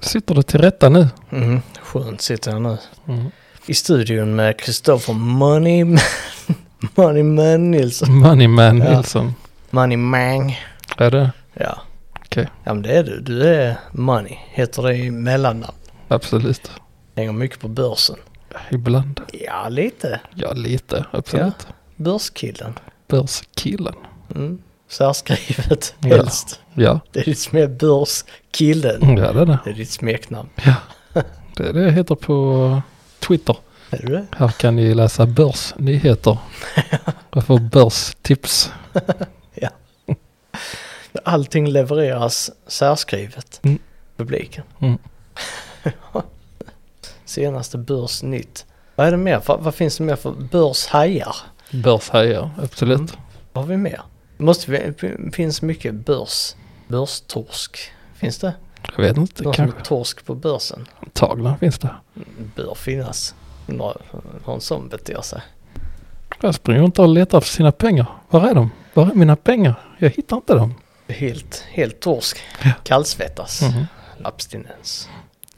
Sitter du till rätta nu? Mm, skönt sitter jag nu. Mm. I studion med Kristoffer Money... Money Man Nilsson. Moneyman Ja. Nilsson. Money Mang. Är det? Ja. Okej. Ja men det är du. Du är Money. Heter det i mellannamn. Absolut. Hänger mycket på börsen. Ibland. Ja lite. Ja, lite. Absolut. Börskillen. Börskillen. Mm. Särskrivet Ja. helst. Ja. Det är ditt som är Börskillen. ja, det är det. Det är ditt smeknamn. Det är det jag heter på Twitter. Är du det? Här kan ni läsa börsnyheter. Jag får börstips. Allting levereras särskrivet. Mm. Publiken. Mm. Senaste börsnytt. Vad är det mer? Vad, vad finns det mer för börshajar? Börshajar, absolut. Vad har vi mer? Måste vi, f- finns mycket börs, börstorsk? Finns det? Jag vet inte, Någon som kanske är torsk på börsen? antagna finns det. Bör finnas. Undrar hur en sån beter sig. Jag springer inte och letar efter sina pengar. Var är de? Var är mina pengar? Jag hittar inte dem. Helt, helt torsk. Ja. Kallsvettas. Mhm. Abstinens.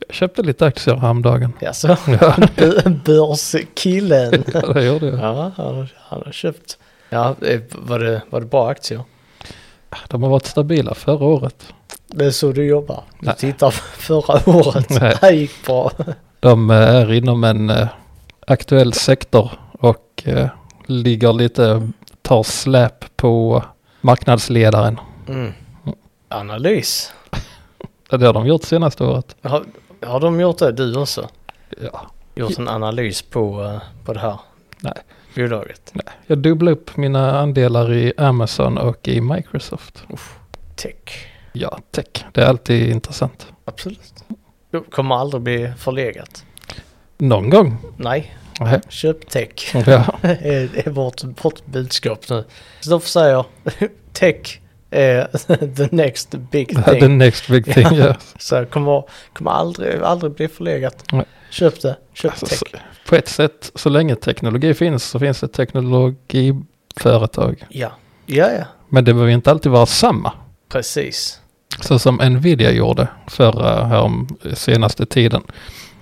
Jag köpte lite aktier häromdagen. Jaså? Ja, B- Börskillen. ja det gjorde jag. Ja, han har, han har köpt. Ja, eh, var det, var det bra aktier? De har varit stabila förra året. Det är så du jobbar? Du Nej. tittar på förra året. Nej. Det här gick bra. De eh, är inom en eh, aktuell sektor och eh, ligger lite, tar släp på marknadsledaren. Mm. Analys. Ja, Det har de gjort senaste året. Har, har de gjort det, du också? Ja. Gjort en analys på, eh, på det här Nej. bolaget? Jag dubblade upp mina andelar i Amazon och i Microsoft. Tech. Ja, tech. Det är alltid intressant. Absolut. Det kommer aldrig bli förlegat. Någon gång. Nej, Nej. köp tech. Ja, är, är vårt, vårt budskap nu. Kristoffer säger tech är the next big the thing. next big thing. Ja. ja. Så det kommer, kommer aldrig, aldrig bli förlegat. Nej. Köp det. Köp Alltså, tech. så, på ett sätt, så länge teknologi finns så finns det teknologiföretag. Ja. ja, ja, Men det behöver ju inte alltid vara samma. precis. Så som Nvidia gjorde förra, härom, senaste tiden.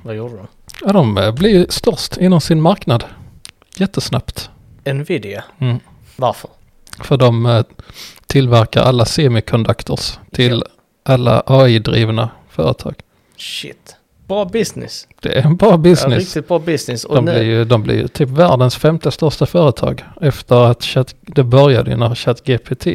Vad gjorde de? Ja, de eh, blir ju störst inom sin marknad. Jättesnabbt. Nvidia. Mm. Varför? För de eh, tillverkar alla semiconductors till alla AI-drivna företag. Shit. Bra business. Det är en bra Ja, business. riktigt bra business. Och de, nu, blir ju, de blir ju typ världens femte största företag. Efter att chat, det började ju när ChatGPT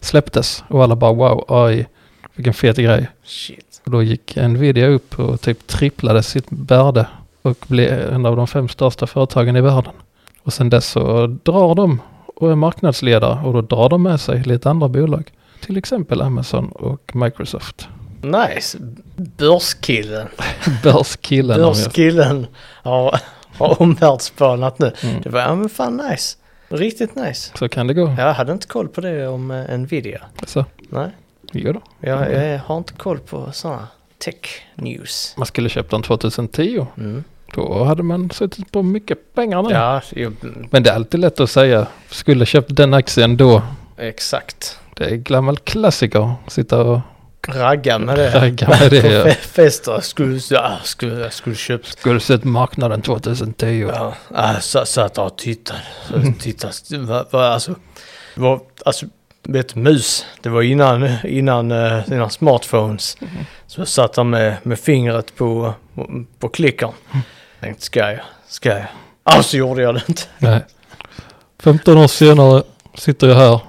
släpptes. Och alla bara wow, AI, vilken fet grej. Shit. Och då gick Nvidia upp och typ tripplade sitt värde. Och blev en av de fem största företagen i världen. Och sen dess så drar de och är marknadsledare. Och då drar de med sig lite andra bolag. Till exempel Amazon och Microsoft. Nice. Börskillen. Börskillen. om jag- Börskillen har, har omvärldsspanat nu. Mm. Det var, ja men fan nice. Riktigt nice. Så kan det gå. Jag hade inte koll på det om eh, Nvidia. Så, Nej, jo då. jag, Mm. jag har inte koll på sådana tech news. Man skulle köpt den 2010. Mm. Då hade man suttit på mycket pengar nu. Ja, ju, mm, Men det är alltid lätt att säga, skulle köpt den aktien då. exakt. Det är gammal klassiker. Sitta och Ragga med det. ragga med det. På ja. fe- fester. Skulle, ja, skulle, jag skulle köpt. Skulle sett marknaden 2010. Ja, ja, så, så att jag tittade. Så Mm. tittade va, va, alltså, det var, alltså, vet du, mus. Det var innan, innan, eh, innan smartphones. Mm. Så jag satt där med, med fingret på, på klickern. Mm. Tänkte, ska jag? Ska jag? Alltså gjorde jag det inte. Nej. 15 år senare sitter jag här.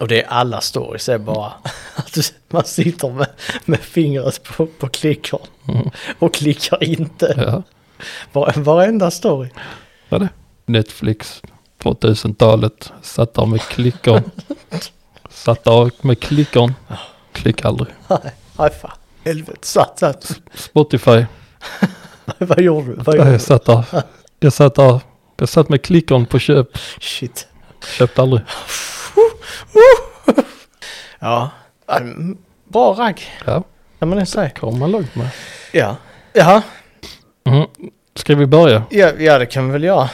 Och det är alla stories är bara att du- man sitter med, med fingret på, på klickern Mm. och klickar inte. Ja. Var, varenda story. Vad är det? Netflix 2000-talet. Satt där med klickern. Satt där med klickern. Klick aldrig. Nej, nej fan. Helvete, satt, satt. Spotify. Vad gjorde du? Vad Jag gjorde satt där. Jag satt där. Jag satt med klickern på köp. du? Shit. Köpte aldrig. Ja. Ja, men Bra ragg, Ja, kan man inte säga. kommer man långt med. Ja. Jaha, Mm. Ska vi börja? ja, ja det kan vi väl göra.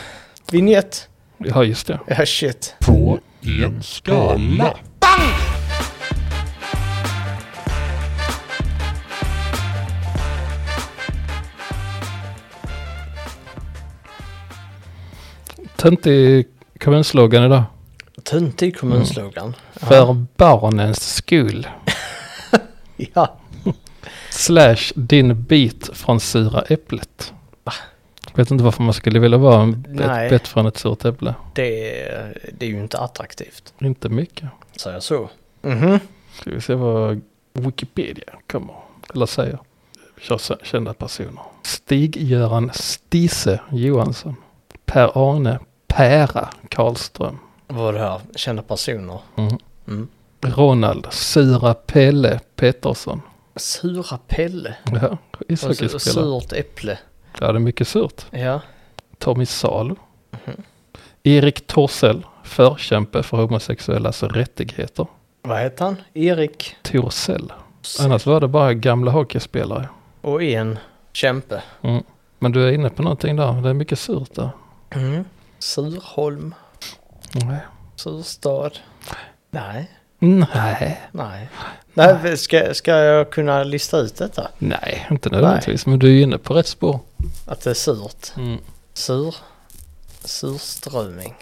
Vignett. Ja, just det. Ja, shit. på en skala. töntig kommunslogan idag. Töntig kommunslogan. Mm. För barnens skull. Ja. Slash din bit från sura äpplet. Jag vet inte varför man skulle vilja vara en, Nej. ett bett från ett surt äpple. Det, är- det är ju inte attraktivt. Inte mycket. Säger jag så. Mhm. Ska vi se vad Wikipedia kommer. Eller säger. Vi kör sen- kända personer. Stig-Göran Stise Johansson. Per-Arne Pära Karlström. Vad var det här? Kända personer. Mm. Mm. Ronald Sura Pelle Pettersson. Sura Pelle. Ja, Och så- och ishockeyspelare. Surt äpple. Ja, det är mycket surt. Ja. Tommy Salo. Mhm. Erik Torssell, förkämpe för homosexuellas rättigheter. Vad heter han? Erik. Torssell. Annars var det bara gamla hockeyspelare. Och en kämpe. Men du är inne på någonting där. Det är mycket surt där. Mm. Surholm. Nej. Surstad. Nej. Nej, Nej. Nej. Ska, ska jag kunna lista ut detta? nej inte nödvändigtvis. Men du är ju inne på rätt spår. Att det är surt. Mm. Sur. Surströmming.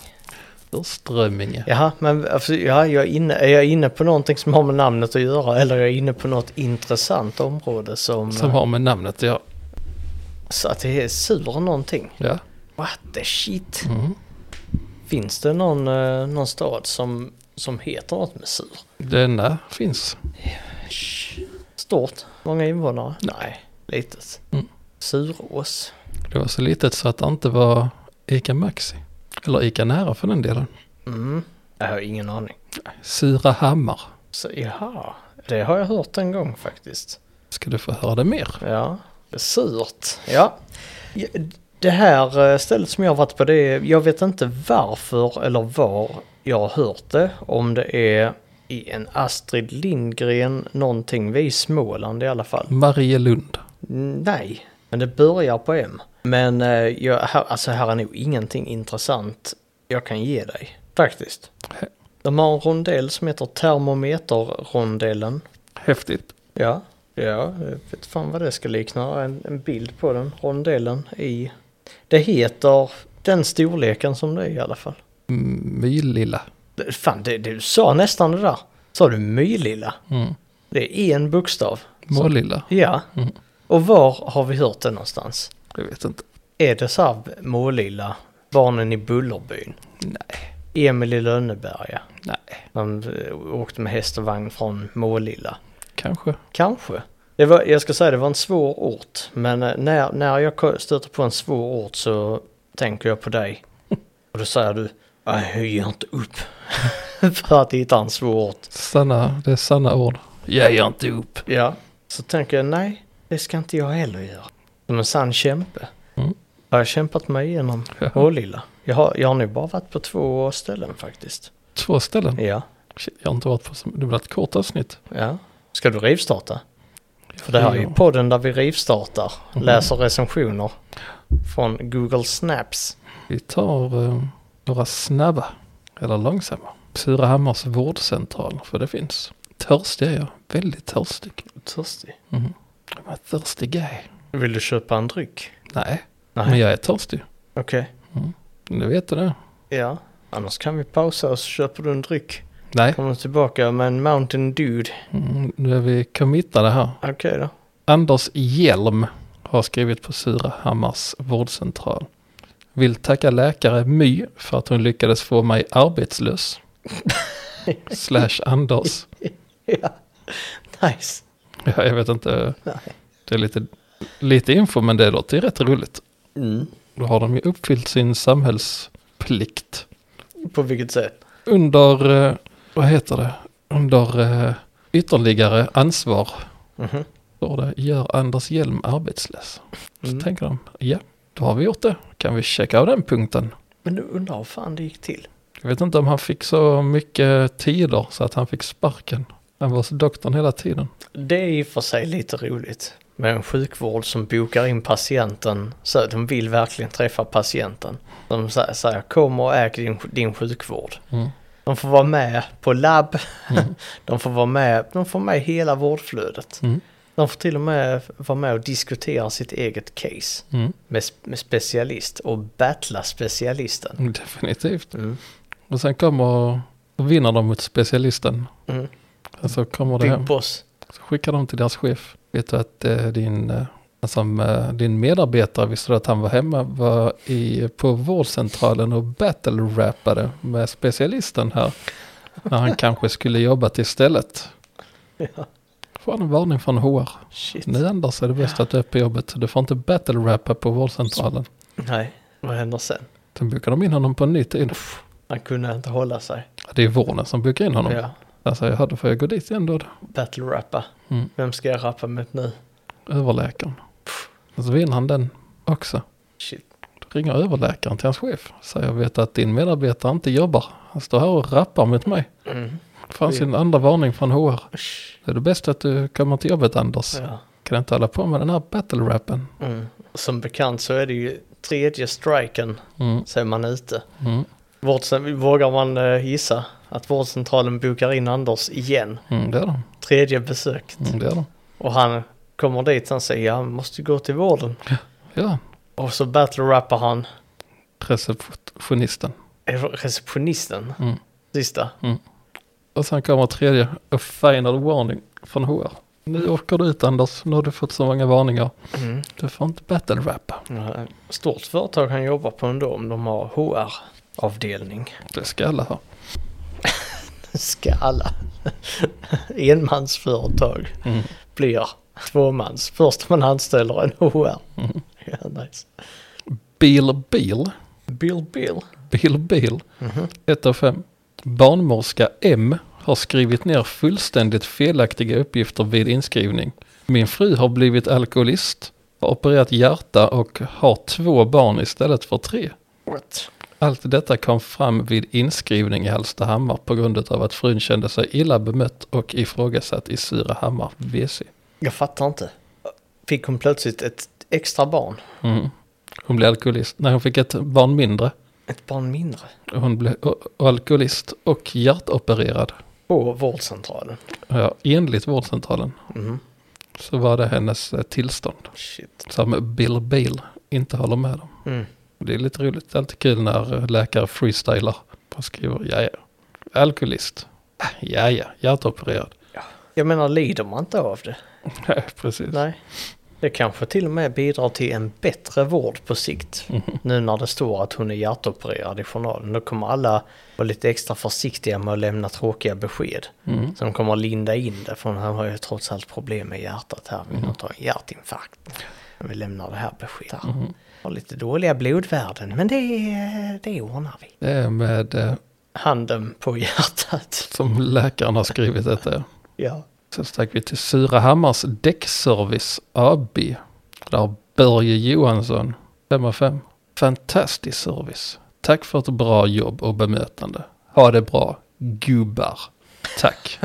Strömminge. Jaha, men alltså, ja, jag är, inne, är jag inne på någonting som har med namnet att göra eller är jag inne på något intressant område som... Som har med namnet att göra. Så att det är sur någonting. Ja. What the shit? Mm. Finns det någon, eh, någon stad som, som heter något med sur? Denna finns. Sh. Stort? Många invånare? Nej, litet. Mm. Surås? Det var så litet så att det inte var Ica Maxi. Eller Ica Nära för den delen. Mm. Jag har ingen aning. Surahammar. Så, jaha, det har jag hört en gång faktiskt. Ska du få höra det mer? Ja, surt. Ja. Det här eh, stället som jag har varit på det är, jag vet inte varför eller var jag har hört det. Om det är i en Astrid Lindgren någonting, vi i Småland i alla fall. Marielund. Nej, men det börjar på M. Men eh, jag, här, alltså här är nog ingenting intressant jag kan ge dig, faktiskt. Hä. De har en rondell som heter termometerrondellen. Häftigt. Ja, ja, jag vet fan vad det ska likna. En, en bild på den rondellen i... Det heter den storleken som det är i alla fall. Mm, Mylilla. Det- Fan, det, du sa nästan det där. Sa du mylilla? Mm. Det är en bokstav. Målilla. Ja. Mm. Och var har vi hört det någonstans? Jag vet inte. Är det så här Målilla, Barnen i Bullerbyn, Nej. Emil i Lönneberga? Nej. Man eh, åkte med häst och vagn från Målilla. Kanske. Kanske. Det var, jag ska säga det var en svår ort, men eh, när, när jag ko- stöter på en svår ort så tänker jag på dig. Och då säger du, "Nej, jag ger inte upp. För att hitta en svår ort. Sanna, det är sanna ord. Jag ger inte upp. Ja. Så tänker jag, nej, det ska inte jag heller göra. Som en sann kämpe. Mm. Har jag kämpat mig igenom Ålilla? Jag har, jag har nu bara varit på två ställen faktiskt. Två ställen. Ja. Shit, jag har inte varit på så... Det blir ett kort avsnitt. ja. Ska du rivstarta? För det här är ju podden där vi rivstartar, läser recensioner från Google Snaps. Vi tar eh, några snabba. Eller långsamma. Surahammars vårdcentral. För det finns. Törstig är jag. Väldigt törstig. Törstig. Jag är en Thirsty guy. Vill du köpa en dryck? Nej. Nej. Men jag är törstig. Okej. Nu vet du det. Ja. Annars kan vi pausa och så köper du en dryck. Nej. Kommer du tillbaka med en Mountain Dude. Mm, nu är vi committade här. Okej då. Anders Hjelm har skrivit på Surahammars vårdcentral. Vill tacka läkare My för att hon lyckades få mig arbetslös. Slash Anders. Nice. Ja, jag vet inte, Nej. det är lite, lite info men det låter ju rätt roligt. Mm. Då har de ju uppfyllt sin samhällsplikt. På vilket sätt? Under, eh, vad heter det, under eh, ytterligare ansvar Mhm. står det gör Anders Hjelm arbetslös. Så Mm. tänker de, ja, då har vi gjort det. Kan vi checka av den punkten? Men du undrar hur fan det gick till? Jag vet inte om han fick så mycket tider så att han fick sparken. Han var hos doktorn hela tiden. Det är i och för sig lite roligt. Med en sjukvård som bokar in patienten, så de vill verkligen träffa patienten. De sä- säger kom och äg din, din sjukvård. Mm. De får vara med på labb, de får vara med, de får med i hela vårdflödet. Mm. De får till och med vara med och diskutera sitt eget case Mm. med, med specialist och battla specialisten. Mm. Definitivt. Och sen kommer och vinner de mot specialisten. Mm. Sen så kommer det Big hem. boss. Så skickar de till deras chef. Vet du att eh, din, eh, alltså, eh, din medarbetare visste du att han var hemma var i, på vårdcentralen och battle-rappade med specialisten här. När han kanske skulle jobbat istället. Ja, Får en varning från HR. shit. Nu ändras är det bäst att du är på jobbet. Du får inte battle-rappa på vårdcentralen. Nej, vad händer sen? Sen bokar de in honom på en ny tid. Han kunde inte hålla sig. Ja, Det är vården som bokar in honom. Ja. Alltså jag hörde, får jag gå dit igen då? Battle-rappa. Mm. Vem ska jag rappa mot nu? Överläkaren. Och så vinner han den också. Shit. Då ringer överläkaren till hans chef. Säger jag vet att din medarbetare inte jobbar. Han står här och rappar mot mig. Mm. Fanns sin andra varning från HR. Usch. Det är det bäst att du kommer till jobbet Anders. Ja. Kan inte hålla på med den här battle-rappen. Mm. Som bekant så är det ju tredje striken Mm, så är man ute. mm, Vårdcen- vågar man eh, gissa att vårdcentralen bokar in Anders igen? mm, det är de. Tredje besöket. Mm, det är de. Och han kommer dit och säger jag måste gå till vården. Ja, Och så battle-rappar han receptionisten. receptionisten. Mm. Sista. Och sen kommer tredje, a final warning från HR. Nu åker du ut Anders, nu har du fått så många varningar. Mm. Du får inte battle-rappa. Ja, Stort företag han jobbar på ändå om de har HR-avdelning. Det ska alla ha. Ska alla enmansföretag Mm. blir tvåmans. Först man anställer en HR. Ja, nice. Bil, bil. Bill Bill. Bil, bil. Mhm. Ett av fem. Barnmorska M har skrivit ner fullständigt felaktiga uppgifter vid inskrivning. Min fru har blivit alkoholist, har opererat hjärta och har två barn istället för tre. What? Allt detta kom fram vid inskrivning i Hallstahammar på grund av att frun kände sig illa bemött och ifrågasatt i Surahammar WC. Jag fattar inte. Fick hon plötsligt ett extra barn? Mm. Hon blev alkoholist. Nej, hon fick ett barn mindre. Ett barn mindre? Hon blev o- alkoholist och hjärtopererad. På vårdcentralen? Ja, enligt vårdcentralen Mhm. så var det hennes eh, tillstånd Shit. som Bill Bill inte håller med om. Mm. Det är lite roligt, det är alltid kul när eh, läkare freestylar. De skriver ja, ja. Alkoholist. Ah, Ja, ja. Hjärtopererad. Jag menar, lider man inte av det? Nej, precis. Nej. Det kanske till och med bidrar till en bättre vård på sikt. Mhm, Nu när det står att hon är hjärtopererad i journalen. Då kommer alla vara lite extra försiktiga med att lämna tråkiga besked. Mm. Så de kommer att linda in det. För han har ju trots allt problem med hjärtat här. Vill inte ha en hjärtinfarkt. Men Vi lämnar det här beskedet. Mm. här. mhm. Har lite dåliga blodvärden. Men det, det ordnar vi. Det är med eh, Handen på hjärtat. som läkaren har skrivit detta. Ja. Sen stack vi till Surahammars Däckservice AB. Där Börje Johansson, 5 av 5. Fantastisk service. Tack för ett bra jobb och bemötande. Ha det bra, gubbar. Tack,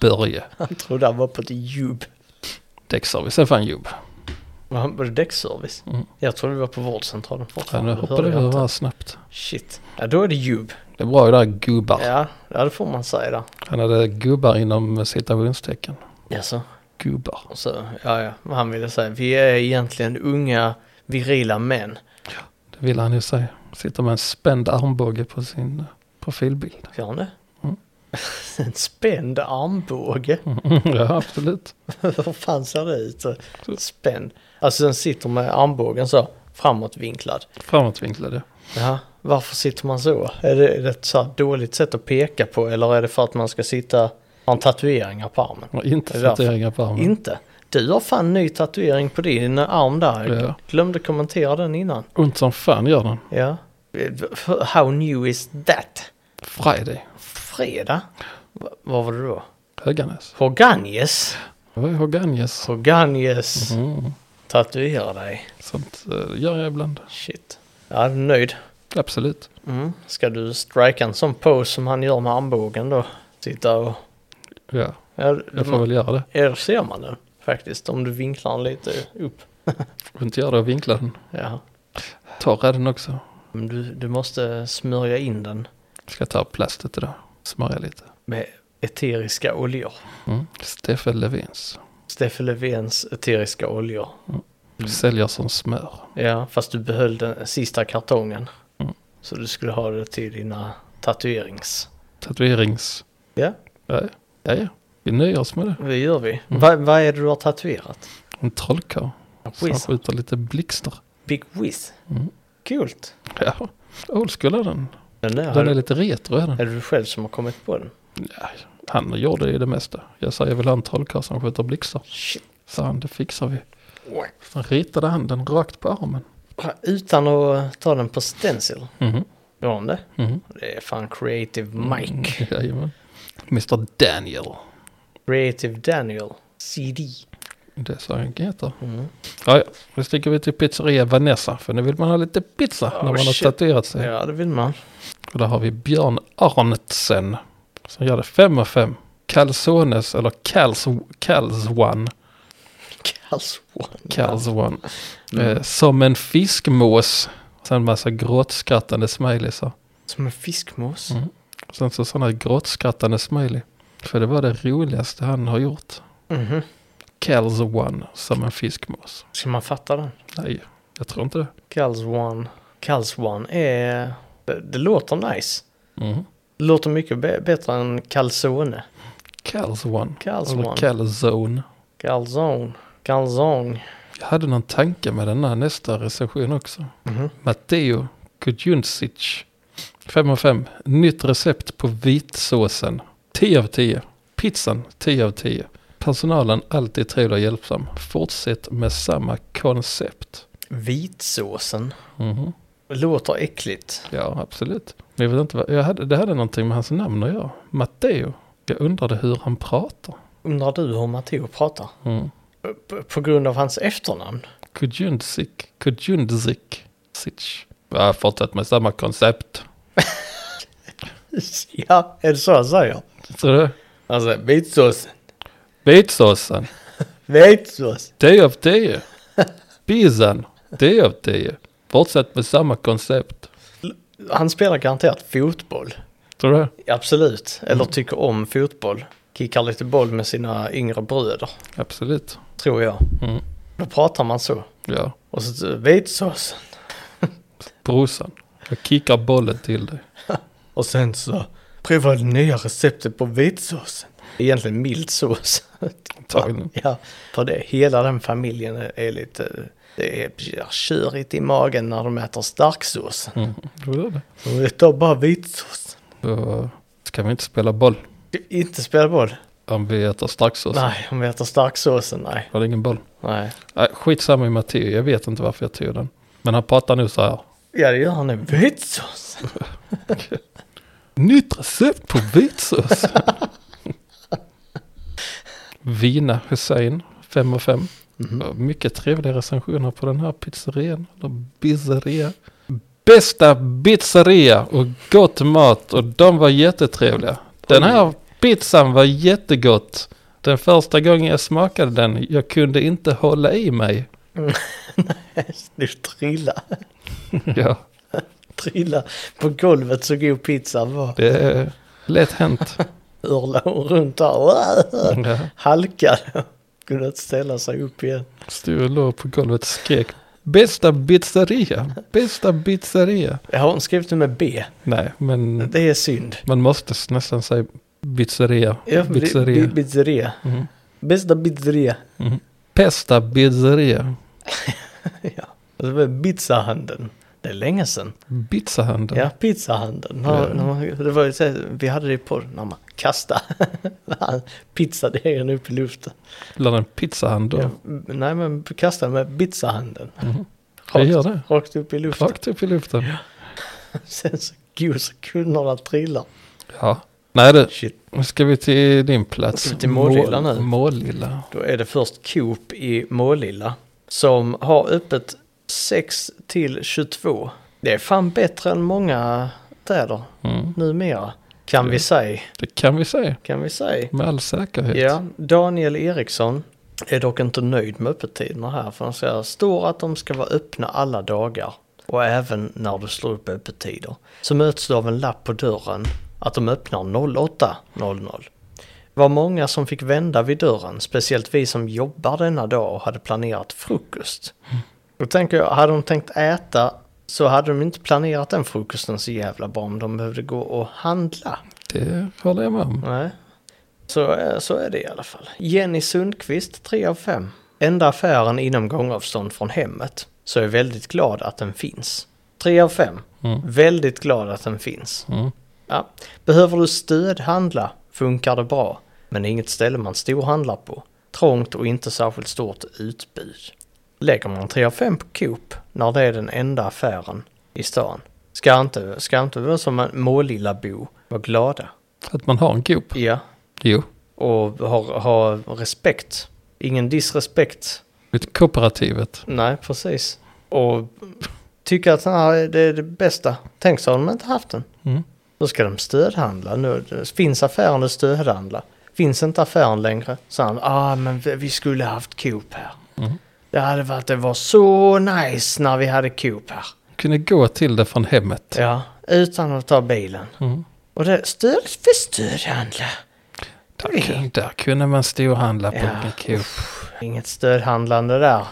Börje. Han trodde han var på ett djup. Däckservice är fan jobb. Var han på däckservice? Mm. Jag trodde vi var på vårdcentralen Ja, nu fortfarande. Det hoppade vi hörde jag över inte. här snabbt. Shit. Ja, då är det djup. Det är bra ju där, gubbar. Ja, ja, det får man säga där. Han hade gubbar inom citationstecken. Jaså? Gubbar. Och så, ja, ja. Vad Han ville säga, vi är egentligen unga, virila män. Det vill han ju säga. Sitter med en spänd armbåge på sin eh, profilbild. Gör han det? Mm. en spänd armbåge. ja, absolut. Hur fan ser det ut? Spänd. Alltså den sitter med armbågen så, framåtvinklad. Framåtvinklade. Ja, varför sitter man så? Är det, är det ett så här dåligt sätt att peka på eller är det för att man ska sitta, har han tatueringar på armen? Och Det Inte är därför. tatueringar på armen. Inte. Du har fan ny tatuering på din arm där. Jag Ja. glömde kommentera den innan. Ont som fan gör den. Ja. How new is that? Friday. Fredag? Va- Vad var det då? Höganäs. Hoganjes? Det var ju Höganäs. Hoganjes. Mm. Tatuera Mm-hmm. dig. Sånt eh, gör jag ibland. Shit. Ja, du är nöjd. Absolut. Mm. Ska du strika en sån pose som han gör med armbågen då? Sitta och... Ja, Ja, jag får väl göra det. Eller ser man den faktiskt om du vinklar den lite upp. Får inte göra det och vinkla den. Ja. Torra den också. Men Mm, du, du måste smörja in den Ska ta av plastet idag. Smörja lite. med eteriska oljor. Mm. Steffe Levins. Steffe Löfvens eteriska oljor. Mm. Säljer som smör. Ja, fast du behöll den sista kartongen. Mm. Så du skulle ha det till dina tatuerings... Tatuerings... Ja. Ja, ja. ja. Vi nöjer oss med det. Det gör vi. Mm. Va- Vad är det du har tatuerat? En trollkarl som Whiz. skjuter lite blixtar. Big Whiz. Mm. Kul. Ja, old school är den. Den där har Den är du, lite retro är den. är det du själv som har kommit på den? Han gjorde ju det mesta. Jag sa jag vill ha en trollkarl som skjuter blixtar. Shit. Så han, det fixar vi. Sen ritade han den rakt på armen. Utan att ta den på stencil. Mhm. Gör han det? Mhm. Det är fan Creative Mike. Mm, Jajamän. Mr Daniel. Creative Daniel. CD. Det sa han heter. Mm. Ja, ja. Nu sticker vi till pizzeria Vanessa. För nu vill man ha lite pizza Oh, när man shit. har tatuerat sig. Ja, det vill man. Och där har vi Björn Arntzen. Som gör det 5 av 5. Calzones eller Calz, Calz One. Calls One. Calz One. Mm. Eh, som en fiskmås. Sen massa gråtskrattande smileysar. Som en fiskmås. Mm. Sen så sådana gråtskrattande smiley. För det var det roligaste han har gjort. Mhm. Calz One som en fiskmås. Ska man fatta den? Nej, jag tror inte det. Calls One. Calls One är... Det, det låter nice. Mm. Det låter mycket be- bättre än calzone. Calz One. Calls Eller One. Calzone. Calzone. Calzone. Jag hade någon tanke med den här nästa recension också. Mhm. Matteo Kudjunsic. 5 av 5. Nytt recept på vitsåsen. 10 av 10. Pizzan 10 av 10. Personalen alltid trevlig och hjälpsam. Fortsätt med samma koncept. Vitsåsen. Mhm. Det låter äckligt. Ja, absolut. Men jag vet inte vad, jag hade, det hade någonting med hans namn att göra. Matteo. Jag undrade hur han pratar. Undrar du hur Matteo pratar? Mm. P- på grund av hans efternamn? Kudjundzik. Kudjundzik. Sic. Ja, fortsätt med samma koncept. ja, är det så han säger? Tror du? Alltså, vitsåsen. Vitsåsen. Vitsås. 10 av 10. Pizzan, 10 av 10. Fortsätt med samma koncept. Han spelar garanterat fotboll. Tror du det? Absolut. Eller tycker om fotboll. Kickar lite boll med sina yngre bröder. Absolut. Tror jag. Mm. Då pratar man så. Ja, Och så vitsåsen. brorsan. Jag kickar bollen till dig. Och sen så prova det nya receptet på vitsåsen. Egentligen mild sås. Antagligen. Ja, för det, hela den familjen är- är lite... Det är tjurigt i magen när de äter starksås. Mm. Då gör det. Och det tar bara vitsås. Då ska vi inte spela boll Inte spela boll. om vi äter starksås. Nej, om vi äter starksåsen, nej. Då är det ingen boll. nej. Äh, skitsamma i Matteo, jag vet inte varför jag tog den. Men han pratar nu så här. Ja, det gör han nu. Vitsås! Nytt recept på vitsås. Vina Hussein, 5 av 5. Mm. Mycket trevliga recensioner på den här pizzerian. Eller pizzeria. Bästa pizzeria och gott mat och de var jättetrevliga. Den här pizzan var jättegott. Den första gången jag smakade den, jag kunde inte hålla i mig. Nu trilla, Ja, trilla på golvet så god pizza var. det är lätt hänt. Örlade hon runt där. Ja. Halkade. Kunde inte ställa sig upp igen. Stod och låg på golvet och skrek. Bästa pizzeria, bästa pizzeria. Jag har hon skrivit det med B. Nej, men Det är synd. man måste s- nästan säga pizzeria. Ja, bi- pizzeria. bi- Pizzeria. Mhm. Bästa pizzeria. Pesta pizzeria. Ja. Det var pizzahandeln. Det är länge sedan. Pizzahandeln. Ja, pizzahandeln. Ja. Ja. När man, det var ju så här, vi hade det på när man kastade pizzadegen upp i luften. Eller en pizzahand då. Ja, m- nej, men kasta med pizzahandeln. Mhm. Jag Rakt, gör det. rakt upp i luften. Rakt upp i luften. Ja. Sen så god så kunderna trillar. Nej du, Shit. nu ska vi till din plats. Ska vi till Målilla Mål- nu? Målilla. Då är det först Coop i Målilla som har öppet 6 till 22. Det är fan bättre än många städer Mm. numera. Kan vi säga. Det kan vi säga. Kan vi säga. Med all säkerhet. Ja, Daniel Eriksson är dock inte nöjd med öppettiderna här. För han säger står att de ska vara öppna alla dagar och även när du slår upp öppettider. Så möts du av en lapp på dörren att de öppnar 08.00. Det var många som fick vända vid dörren, speciellt vi som jobbar denna dag och hade planerat frukost. Då tänker jag, hade de tänkt äta så hade de inte planerat den frukosten så jävla bra om de behövde gå och handla. Det håller jag med om. Nej. Så, eh, så är det i alla fall. Jenny Sundqvist, 3 av 5. Enda affären inom gångavstånd från hemmet. Så jag är väldigt glad att den finns. 3 av 5. Mm. Väldigt glad att den finns. Mm. Ja. Behöver du stödhandla funkar det bra. Men inget ställe man storhandlar på. Trångt och inte särskilt stort utbud. Lägger man 3 av 5 på Coop när det är den enda affären i stan. Ska inte, ska inte vi som en målilla bo vara glada? Att man har en Coop. Ja, Jo. och ha, ha respekt. Ingen disrespekt. Lite kooperativet. Nej, precis. Och tycka att nej, det är det bästa. Tänk så har de inte haft den. Mm. Då ska de stödhandla. Nu, finns affären, då stödhandla. Finns inte affären längre, så han, ah men vi vi skulle haft Coop här. Mm. Det hade varit, det var så nice när vi hade Coop här. Kunde gå till det från hemmet. Ja, utan att ta bilen. Mm. Och det, stöd, för stödhandla. Där, kun- där kunde man storhandla på Ja. en Coop. Inget stödhandlande där.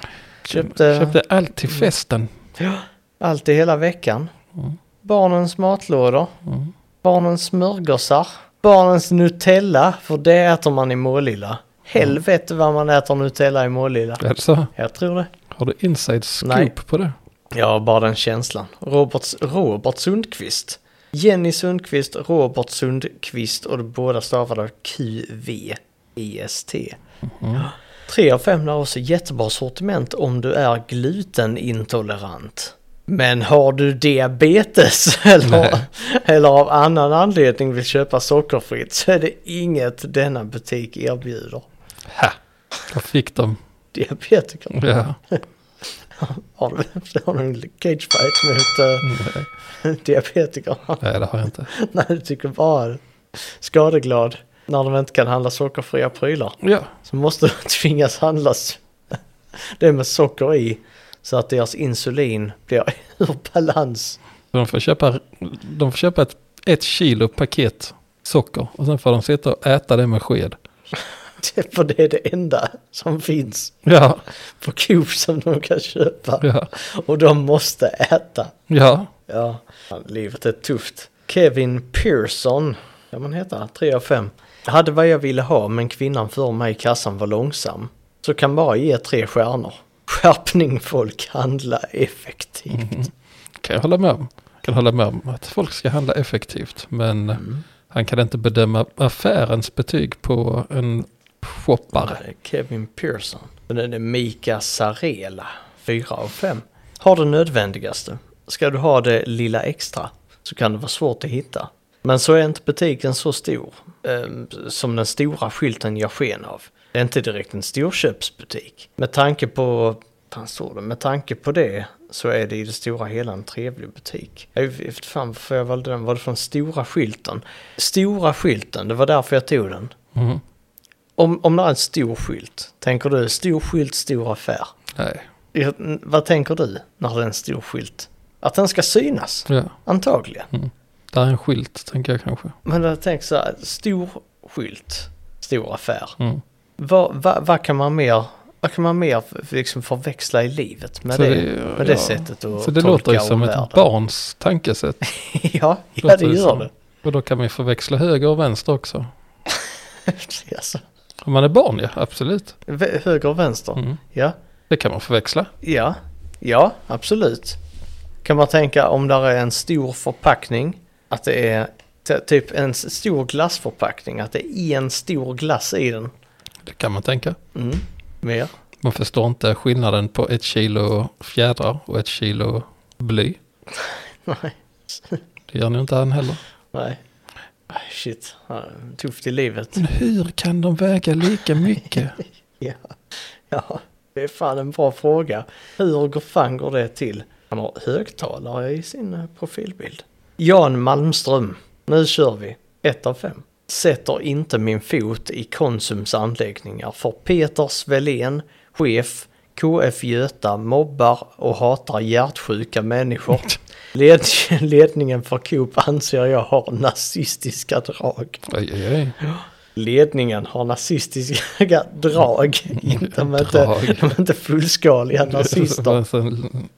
Köpte... Köpte allt till Mm. festen. Ja, allt i hela veckan. Mm. Barnens matlådor, Mm. barnens smörgåsar, barnens Nutella, för det äter man i Målilla. Helvete vad man äter Nutella i Målilla. Alltså, Jag tror det. har du inside scoop Nej. på det? Jag har bara den känslan. Robert, Robert Sundqvist. Jenny Sundqvist, Robert Sundqvist och de båda stavade av Q-V-E-S-T. Mm. Tre av fem har också jättebra sortiment om du är glutenintolerant. Men har du diabetes eller, Nej. eller av annan anledning vill köpa sockerfritt så är det inget denna butik erbjuder. Ha! Där fick de. Diabetiker. Ja. Har du, har du en cagefight mot eh, Nej, diabetiker? Nej, det har jag inte. Nej, du tycker bara skadeglad när de inte kan handla sockerfria prylar. Ja, Så måste de tvingas handlas det med socker i så att deras insulin blir ur balans. de får köpa, de får köpa ett, ett kilo paket socker och sen får de sitta och äta det med sked. Det- För det är det enda som finns Ja, på Coop som de kan köpa. ja, Och de måste äta. ja. Ja, fan, livet är tufft. Kevin Pearson, kan man heta, 3 av 5. Jag hade vad jag ville ha men kvinnan för mig i kassan var långsam. Så kan bara ge tre stjärnor. Skärpning folk, handla effektivt. Kan jag hålla med om. Kan hålla med om att folk ska handla effektivt. Men Mm. han kan inte bedöma affärens betyg på en shoppare. Kevin Pearson. Den är Mika Sarela, 4 av 5. Har det nödvändigaste. Ska du ha det lilla extra så kan det vara svårt att hitta. Men så är inte butiken så stor ehm, som den stora skylten gör sken av. Det är inte direkt en storköpsbutik. Med tanke på, fan står det, med tanke på det så är det i det stora hela en trevlig butik. Jag vet fan varför jag valde den, var det från stora skylten? Stora skylten, det var därför jag tog den. Mm. Om, om det är en stor skylt, tänker du stor skylt, stor affär? Nej, Ja, n- Vad tänker du när det är en stor skylt? Att den ska synas, ja. antagligen. Där är en skylt tänker jag kanske. Men jag tänker så här, stor skylt, stor affär. Mm. Vad vad- vad kan man mer, vad kan man mer f- liksom förväxla i livet med Så det, det- med ja. det sättet att Så det tolka låter ju som ett omvärlden? barns tankesätt. ja, ja, Låter det gör som. det. Och då kan man ju förväxla höger och vänster också. alltså, Om man är barn, ja absolut. vä- höger och vänster, Mm. ja. Det kan man förväxla. Ja, ja absolut. Kan man tänka om där är en stor förpackning, att det är t- typ en s- stor glassförpackning, att det är en stor glass i den. Det kan man tänka. Mm. Mer? Man förstår inte skillnaden på ett kilo fjädrar och ett kilo bly. Nej. Det gör nog inte han heller. Nej. Aj, Shit, Ja, tufft i livet. Men hur kan de väga lika mycket? Ja. ja, det är fan en bra fråga. Hur går fan går det till? Han har högtalare i sin eh, profilbild. Jan Malmström, nu kör vi. 1 av 5. Sätter inte min fot i Konsums anläggningar för Peter Svelén, chef, KF Göta mobbar och hatar hjärtsjuka människor. Led ledningen för Coop anser jag har nazistiska drag. Oj, oj, oj. ledningen har nazistiska drag. Inte- De är inte, Drag. de är inte fullskaliga nazister. Sen-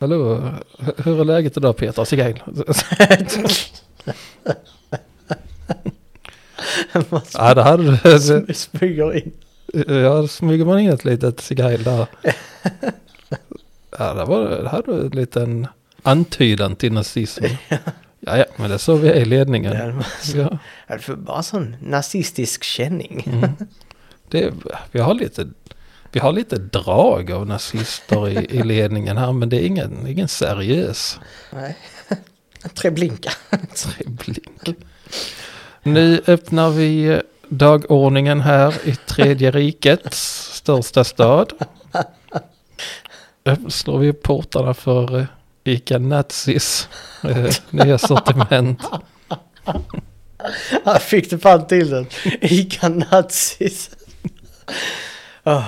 Alltså, Hallå, hur är läget idag Peter? Sigail? Ja, det hade du. Som smyger in. Ja, då smyger man in ett litet cigail där. Ja, det var det här var en liten antydan till nazism. Ja, ja, men det såg vi är i ledningen. Ja. Ja, Är för bara sån nazistisk känning? mm. det, vi, har lite, vi har lite drag av nazister i, i ledningen här, men det är ingen, ingen seriös Nej. Treblinka. blink. Nu öppnar vi eh, dagordningen här i Tredje rikets största stad. Öpp- Slår vi upp portarna för eh, Ica Nazis eh, nya sortiment. Här fick du fan till den. Ica nazis. Oh.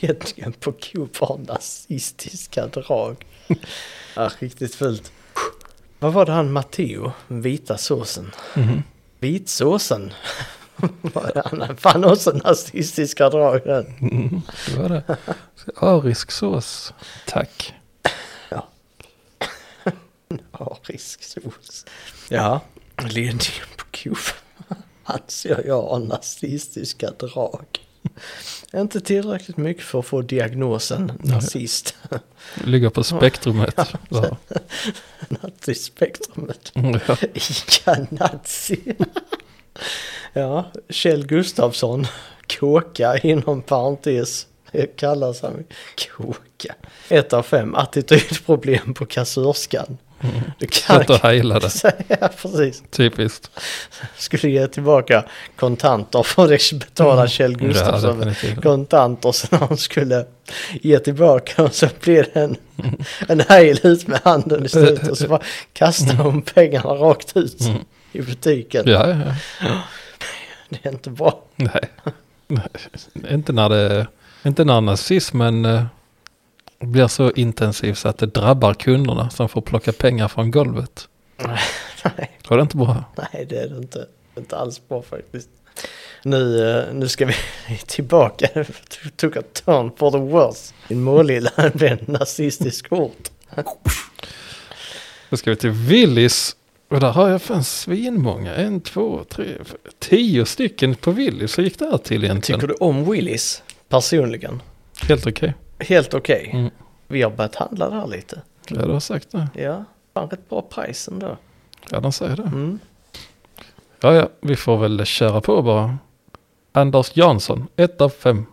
Ledningen på Coop har nazistiska drag. Ja, riktigt fult. Vad var det han Matteo? Vita såsen. Mhm. Vitsåsen. Vad är Han fan också nazistiska drag. den. Mm, det var det. Arisk sås, tack. Arisk sås. Ja, ledningen på Coop anser jag har nazistiska drag. Inte tillräckligt mycket för att få diagnosen nazist. Ligger på spektrumet. Ja. Nazispektrumet. Mm, ja. Ica-nazi. ja, Kjell Gustafsson. Kåka inom parentes. Kallas han kåka. Ett av fem attitydproblem på kassörskan. Du kan Satt och heilade, säga precis. typiskt. Skulle ge tillbaka kontanter för att betala Kjell Ja, Gustafsson definitivt. kontanter som han skulle ge tillbaka och så blev det en, en hejl ut med handen i slutet och så bara kastade hon pengarna rakt ut i butiken. Ja, ja. Det är inte bra. Nej. Nej. Inte när det... Inte när nazismen eh, blir så intensiv så att det drabbar kunderna som får plocka pengar från golvet. Nej, Då är det inte bra. nej, det är det inte. Inte alls bra faktiskt. Nu, eh, nu ska vi tillbaka. Det Tog en turn for the worse. I Målilla det blev en nazistisk ort. Då ska vi till Willys. Och där har jag fan svinmånga. En, två, tre, f- tio stycken på Willys. Så gick det här till egentligen? Tycker du om Willys personligen? Helt okej. Helt okej. Mm. Vi har börjat handla där lite. Ja, du har sagt det. Ja, fan rätt bra pris ändå. Ja, de säger det. Mm. Ja, ja, vi får väl köra på bara. Anders Jansson, 1 av 5.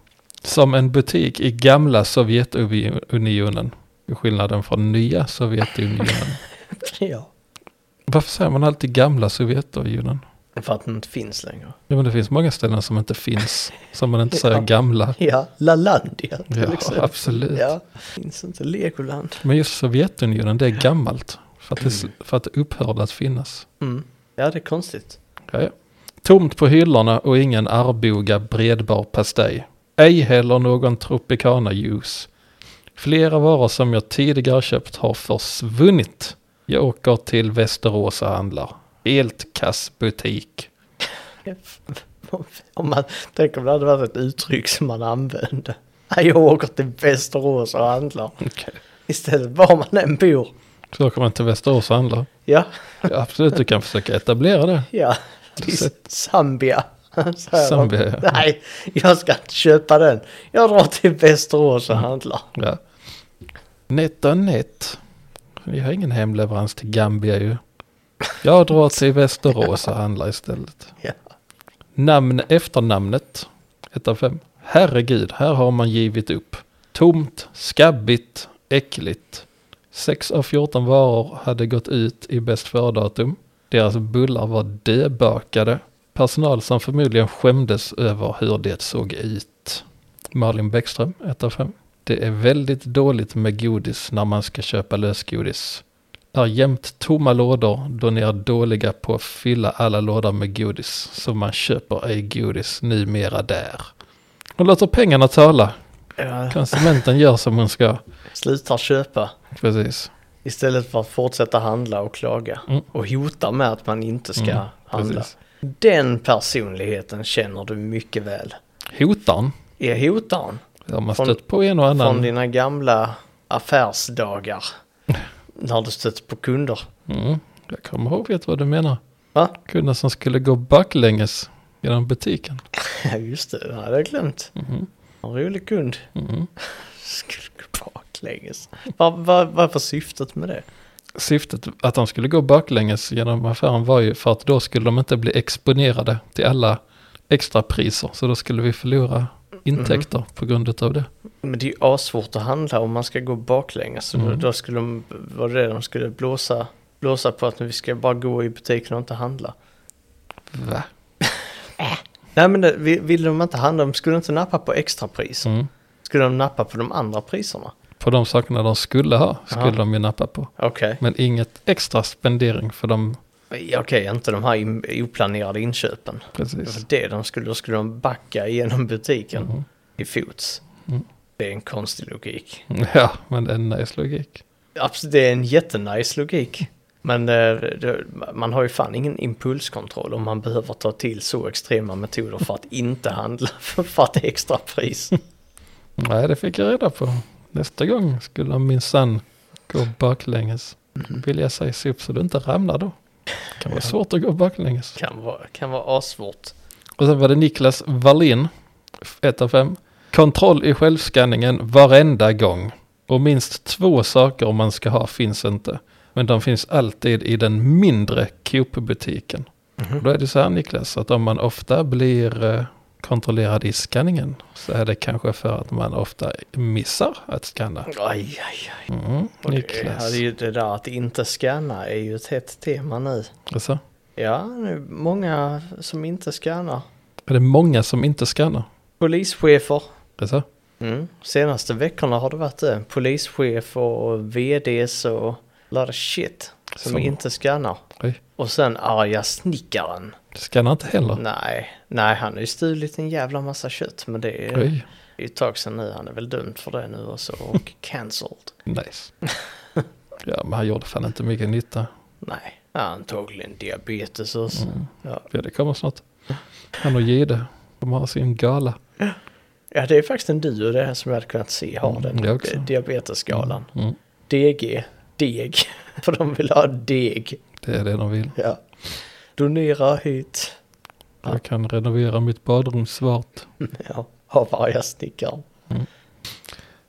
Som en butik i gamla Sovjetunionen. Skillnaden från nya Sovjetunionen. Ja. Varför säger man alltid gamla Sovjetunionen? För att den inte finns längre. Ja, men det finns många ställen som inte finns. Som man inte säger Ja. gamla. Ja, Lalandia till Ja, exempel. absolut. Ja, finns inte Legoland. Men just Sovjetunionen, det är gammalt. För att det, för att det upphörde att finnas. Mm. Ja, det är konstigt. Ja, ja. Tomt på hyllorna och ingen Arboga bredbar pastej. Ej heller någon Tropicana juice. Flera varor som jag tidigare köpt har försvunnit. Jag åker till Västerås och handlar. Helt kass butik. Om man tänker om det hade varit ett uttryck som man använde. Nej, Jag åker till Västerås och handlar. Istället var man än bor. Så åker man till Västerås och handlar. Ja, Ja, absolut, du kan försöka etablera det. ja. Till Zambia. Så här. Zambia, ja. Nej, jag ska inte köpa den. Jag drar till Västerås Mm. och handlar. Ja. Net och net. Vi har ingen hemleverans till Gambia ju. Jag drar till Västerås och handlar istället. Ja. Namn efternamnet. 1 av 5. Herregud, här har man givit upp. Tomt, skabbigt, äckligt. 6 av 14 varor hade gått ut i bäst före-datum. Deras bullar var döbakade. Personal som förmodligen skämdes över hur det såg ut. Malin Bäckström, 1 av 5. Det är väldigt dåligt med godis när man ska köpa lösgodis. Där jämt tomma lådor då ni är dåliga på att fylla alla lådor med godis. Så man köper ej godis numera där. Hon låter pengarna tala. Jag Konsumenten gör som hon ska. slutar köpa. Precis. Istället för att fortsätta handla och klaga. Mm. Och hota med att man inte ska handla. Precis. Den personligheten känner du mycket väl. Hotan. Är hotaren Jag har Från- stött på en och från annan. dina gamla affärsdagar. När du stötte på kunder. Mm. Jag kommer ihåg vet vad du menar. Va? Kunder som skulle gå baklänges genom butiken. Ja just det, det hade jag glömt. Mhm. En rolig kund. Mhm. Skulle gå baklänges. Vad vad- vad var syftet med det? Syftet att de skulle gå baklänges genom affären var ju för att då skulle de inte bli exponerade till alla extra priser. Så då skulle vi förlora intäkter på grund av det. Men det är ju assvårt att handla om man ska gå baklänges. Så Mm. Då skulle de, var det de skulle blåsa, blåsa på att vi ska bara gå i butiken och inte handla. Va? Nej men det, vi- ville de inte handla, de skulle inte nappa på extrapriser. Mm. Skulle de nappa på de andra priserna? På de sakerna de skulle ha skulle Aha. de ju nappa på. Okej, Men inget extra spendering för dem. okej inte de här im- oplanerade inköpen. Det Precis. var det de skulle, då skulle de backa igenom butiken i fots. Mm. Det är en konstig logik. Ja, men det är en nice logik. Absolut, det är en jättenice logik. Men eh, det, man har ju fan ingen impulskontroll om man behöver ta till så extrema metoder för att inte handla för att det är extra pris. Nej, det fick jag reda på. Nästa gång skulle han minsann gå baklänges. Vill jag säga se upp så du inte ramlar då. Det kan vara svårt att gå baklänges. Kan vara, kan vara asvårt. Och sen var det Niklas Wallin, 1 av 5. Kontroll i självskanningen varenda gång. Och minst två saker man ska ha finns inte. Men de finns alltid i den mindre Coop-butiken. Och Då är det så här Niklas, att om man ofta blir eh, kontrollerad i skanningen så är det kanske för att man ofta missar att skanna. Aj, aj, aj. Mm, Och det, är, Niklas. det är ju det där att inte scanna är ju ett hett tema nu. Alltså, Ja, det är många som inte scannar. är det många som inte skannar? Polischefer. Alltså, Mm. Senaste veckorna har det varit det. Polischef och VDs och lot of shit som Som- inte scannar. oj, Och sen arga snickaren. skannar inte heller. Nej, nej han har ju stulit en jävla massa kött men det är Oj, det är ju ett tag sedan nu. Han är väl dömd för det nu och så och cancelled. nice. Ja, men han gjorde fan inte mycket nytta. Nej, ja, antagligen diabetes och så. Mm. Ja. Ja, det kommer snart. Han och Jihde, de har sin gala. ja, det är faktiskt en duo det här som jag hade kunnat se har den jag Mm, också. di- diabetesskalan. Mm, DG, deg, för de vill ha deg. det är det de vill. Ja. Donera hit. Jag kan renovera mitt badrum svart. Ja, av arga snickaren.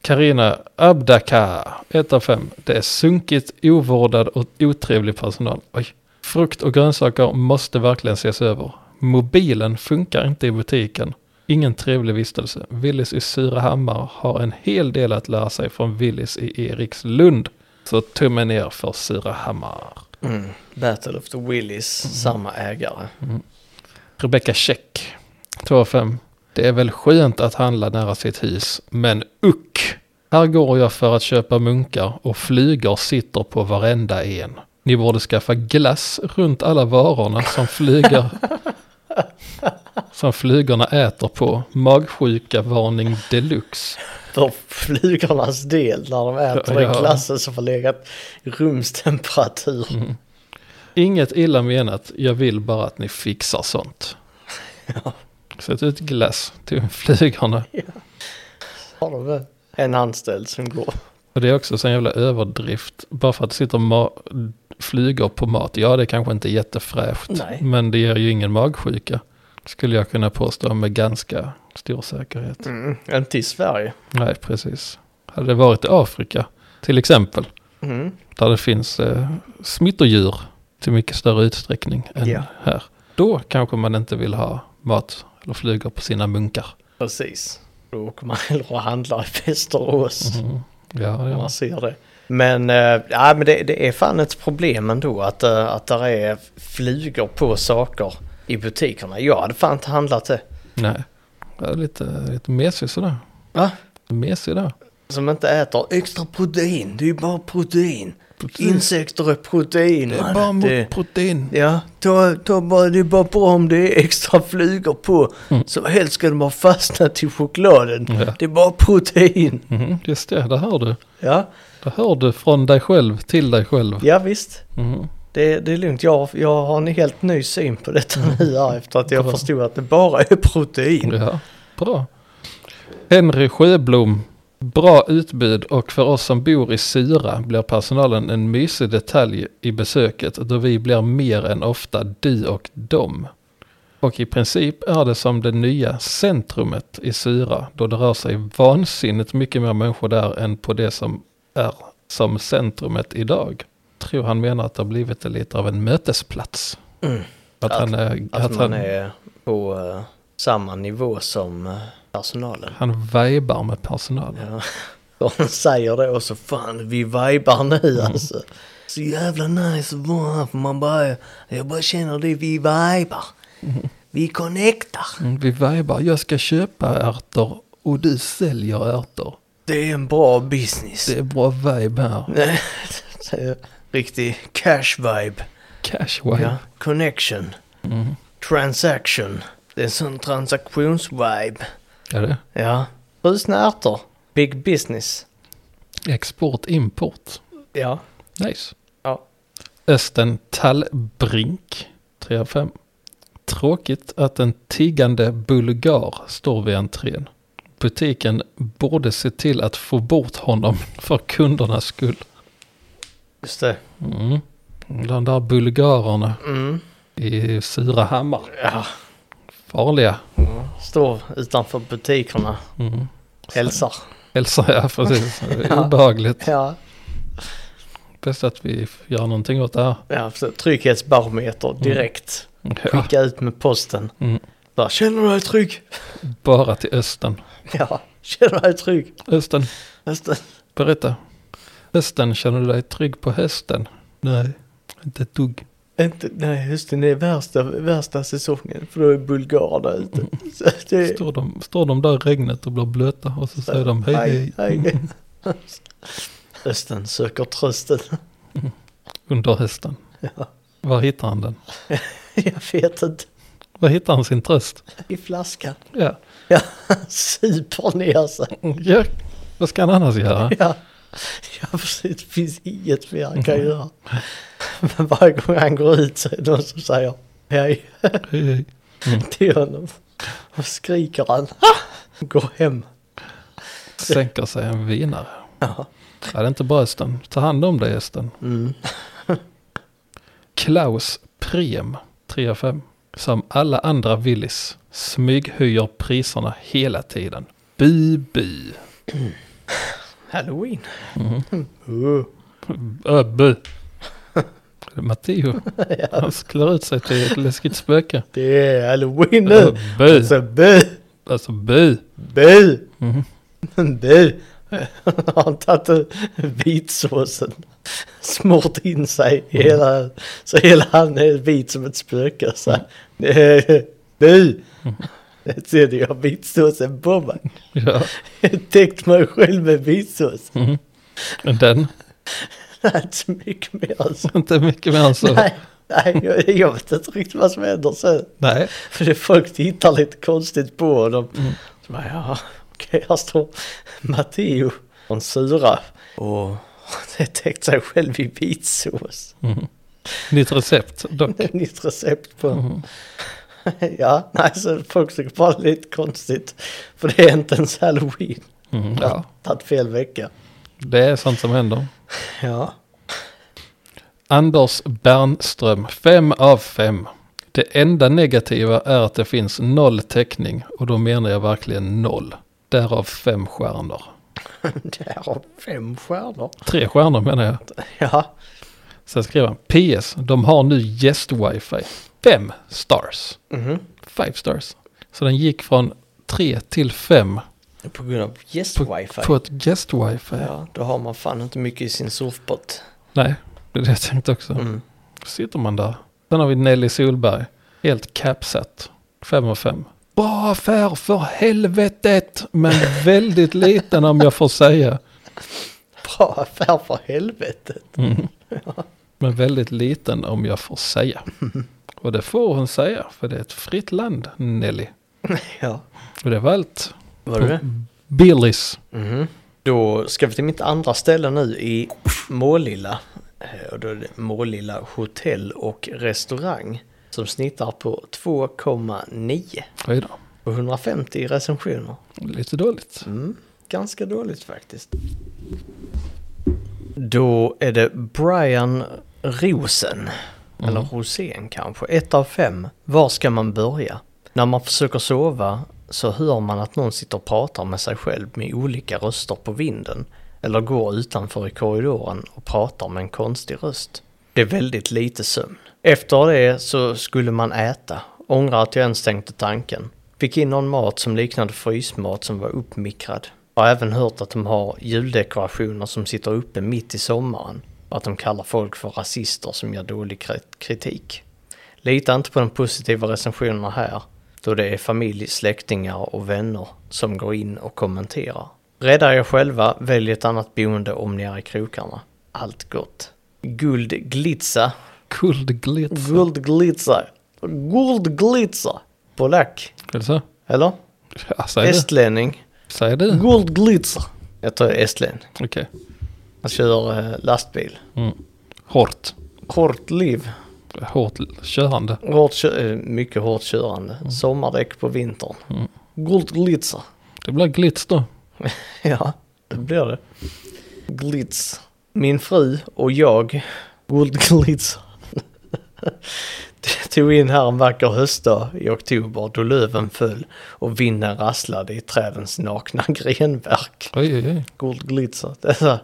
Karina Abdaka, 1 av 5. Det är sunkigt, ovårdad och otrevlig personal. Oj. Frukt och grönsaker måste verkligen ses över. Mobilen funkar inte i butiken. Ingen trevlig vistelse. Willys i Surahammar har en hel del att lära sig från Willys i Erikslund. Så tummen ner för Surahammar. Mm. Battle of the Willies, Mm. samma ägare. Rebecka Check, 2 av 5. Det är väl skönt att handla nära sitt hus, men uck! Här går jag för att köpa munkar och flugor sitter på varenda en. Ni borde skaffa glass runt alla varorna som flugor som flugorna äter på. Magsjuka varning deluxe. För flugornas del när de äter Ja, den ja. glassen som har legat i rumstemperatur. Mm. Inget illa menat, jag vill bara att ni fixar sånt. Sätt ut glass till flugorna. Har de väl en anställd som går. Och det är också en jävla överdrift. Bara för att det sitter ma- flugor på mat. Ja, det kanske inte är jättefräscht. Nej. Men det ger ju ingen magsjuka. Skulle jag kunna påstå med ganska stor säkerhet. Mm. Inte i Sverige. Nej, precis. Hade det varit i Afrika, till exempel. Mm. Där det finns eh, smittodjur till mycket större utsträckning än Ja. här. Då kanske man inte vill ha mat eller flugor på sina munkar. Precis. Då åker man hellre och handlar i Västerås. Mm. Ja, när ja. Man ser det. Men, eh, ja, men det, det är fan ett problem ändå att, eh, att där är flugor på saker i butikerna. Jag hade fan inte handlat det. Nej. Jag är lite, lite mesig sådär. Va? Mesig där. Som inte äter extra protein. Det är ju bara protein. Insekter är protein. Det är man. bara mot Det- protein. Ja, ta, ta bara, det är bara bra om det är extra flugor på. Så helst ska de ha fastnat i chokladen. Mm. Ja. Det är bara protein. Mhm, just det, det hör du. Ja, Det hör du från dig själv till dig själv. ja visst. Mhm. Det, det är lugnt, jag, jag har en helt ny syn på detta nu här efter att jag Mm. Bra. förstod att det bara är protein. Ja, bra. Henry Sjöblom. Bra utbud och för oss som bor i Syra blir personalen en mysig detalj i besöket då vi blir mer än ofta du och dom. Och i princip är det som det nya centrumet i Syra då det rör sig vansinnigt mycket mer människor där än på det som är som centrumet idag. Tror han menar att det har blivit lite av en mötesplats. Mm. Att, Att- han är, att, Att han, man är på eh, samma nivå som eh, personalen. han vibar med personalen. Ja. De säger det och så fan vi vibar nu alltså. Så jävla nice att vara här för man bara, jag bara känner det, vi vibar. Vi connectar. Mm, Vi vibar, jag ska köpa ärtor och du säljer ärtor. Det är en bra business. Det är bra vibe här. Nej, det är Riktig cash vibe. Cash vibe. Ja. Connection. Mm. Transaction. Det är en sån transaktionsvibe. Är det? Ja. Frusna ärtor. Big business. Export, import. Ja. Nice. Ja. Östen Tallbrink, 3 av 5. Tråkigt att en tiggande bulgar står vid entrén. Butiken borde se till att få bort honom för kundernas skull. Just det. Mm. De där bulgarerna Mm. i Surahammar. Ja. Farliga. Står utanför butikerna. Mm. Hälsar. Hälsa, ja precis. Obehagligt. Ja. Bäst att vi gör någonting åt det här. Ja, så trygghetsbarometer direkt. Mm. Ja, Skicka ut med posten. Mm. Bara, känner du dig trygg? bara till Östen. Ja, känner du dig trygg? Östen, Just det. berätta. Östen, känner du dig trygg på hösten? Nej, inte ett dugg. Inte, nej, hösten är värsta, värsta säsongen för då är bulgarer där Mm. ute. Så det, Står de, står de där i regnet och blir blöta och så säger de hej hej Mm. hej. Hösten söker trösten. under hösten. Ja. Var hittar han den? Jag vet inte. Var hittar han sin tröst? I flaskan. Ja, Ja, han super ner sig. ja. vad ska han annars göra? Ja. ja, precis. Det finns inget mer han kan göra. Men varje gång han går ut så är det någon som säger hej. Hej, hej. till honom. Och skriker han. "Ah!" Går hem. Sänker sig en vinare. Ja. Ja, det är inte bara Östen. Ta hand om dig Östen. Mm. Klaus Prem 3 av 5. Som alla andra Willys smyghöjer priserna hela tiden. Bu bu. Halloween. Mhm. Uh. Ö, bu. Det är Matteo. Han klär ut sig till ett läskigt spöke. Det är halloween Ö, nu. bu. Alltså bu, Alltså bu. bu, Mhm. bu. Har han tagit vitsåsen. Smort in sig i hela, så hela han är vit som ett spöke. Så. Eh, Bu! Jag ser det, jag har vitsåsen på mig. Ja. Jag täckte mig själv med vitsås. Mhm. Den. Det är inte så mycket mer alltså. Inte mycket mer än så. Nej. Nej, nej jag, jag vet inte riktigt vad som händer sen. Nej. För det folk tittar lite konstigt på honom. Så bara, ja, okej, här står Matteo från Sura. Och det är täckt sig själv i vitsås. Mhm. Nytt recept dock. Mhm. Det är Nytt recept på honom. Ja, nej, så folk tycker bara det är lite konstigt. För det är inte ens halloween. Mhm, Jag Ja. har tagit fel vecka. Det är sånt som händer. Ja. Anders Bernström, 5 av 5. Det enda negativa är att det finns noll täckning och då menar jag verkligen noll. Därav fem stjärnor. Det här har fem stjärnor. Tre stjärnor menar jag. Ja, Sen skriver han PS, de har nu gäst-wifi. Fem stars. Mhm. Five stars. Så den gick från tre till fem på grund av yes på, wifi. på ett gäst-wifi. Ja, då har man fan inte mycket i sin surfbot. Nej, det är det jag tänkte också. Mm. sitter man där. Sen har vi Nelly Solberg. Helt capsat. fem av fem. Bra affär för helvetet! Men väldigt liten om jag får säga. Bra affär för helvetet. Mm. Men väldigt liten om jag får säga. Och det får hon säga, för det är ett fritt land, Nelly. Ja. Och det var allt. Var det det? Billys. Mhm. Då ska vi till mitt andra ställe nu i Målilla. eh, och då är det Målilla hotell och restaurang som snittar på 2,9 Oj då. och 150 recensioner. Lite dåligt. Mm, ganska dåligt faktiskt. Då är det Brian Rosen, eller Rosén kanske, ett av fem. Var ska man börja? När man försöker sova så hör man att någon sitter och pratar med sig själv med olika röster på vinden. Eller går utanför i korridoren och pratar med en konstig röst. Det är väldigt lite sömn. Efter det så skulle man äta. Ångrar att jag ens tänkte tanken. Fick in någon mat som liknade frysmat som var uppmikrad. Har även hört att de har juldekorationer som sitter uppe mitt i sommaren. Och att de kallar folk för rasister som gör dålig kri- kritik. Lita inte på de positiva recensionerna här, då det är familj, släktingar och vänner som går in och kommenterar. Rädda er själva, välj ett annat boende om ni är i krokarna. Allt gott. Guldglitza. Guldglitz. Guldglitza. Guldglitza. Polack. Är det så? Eller? Ja, säg det. Estlänning. Säg det. Guldglitza. Jag tror jag är estlänning. Okej. Han kör eh, lastbil. Hårt. Hårt liv. Hårt körande. Hårt kö- eh, mycket hårt körande. Sommardäck på vintern. Guldglitza. Det blir glitz då. Ja, det blir det. Glitz. Min fru och jag, Gold Glitz, tog in här en vacker höstdag i oktober då löven föll och vinden rasslade i trädens nakna grenverk. Oj, oj, oj. Gold Glitz. Dessa.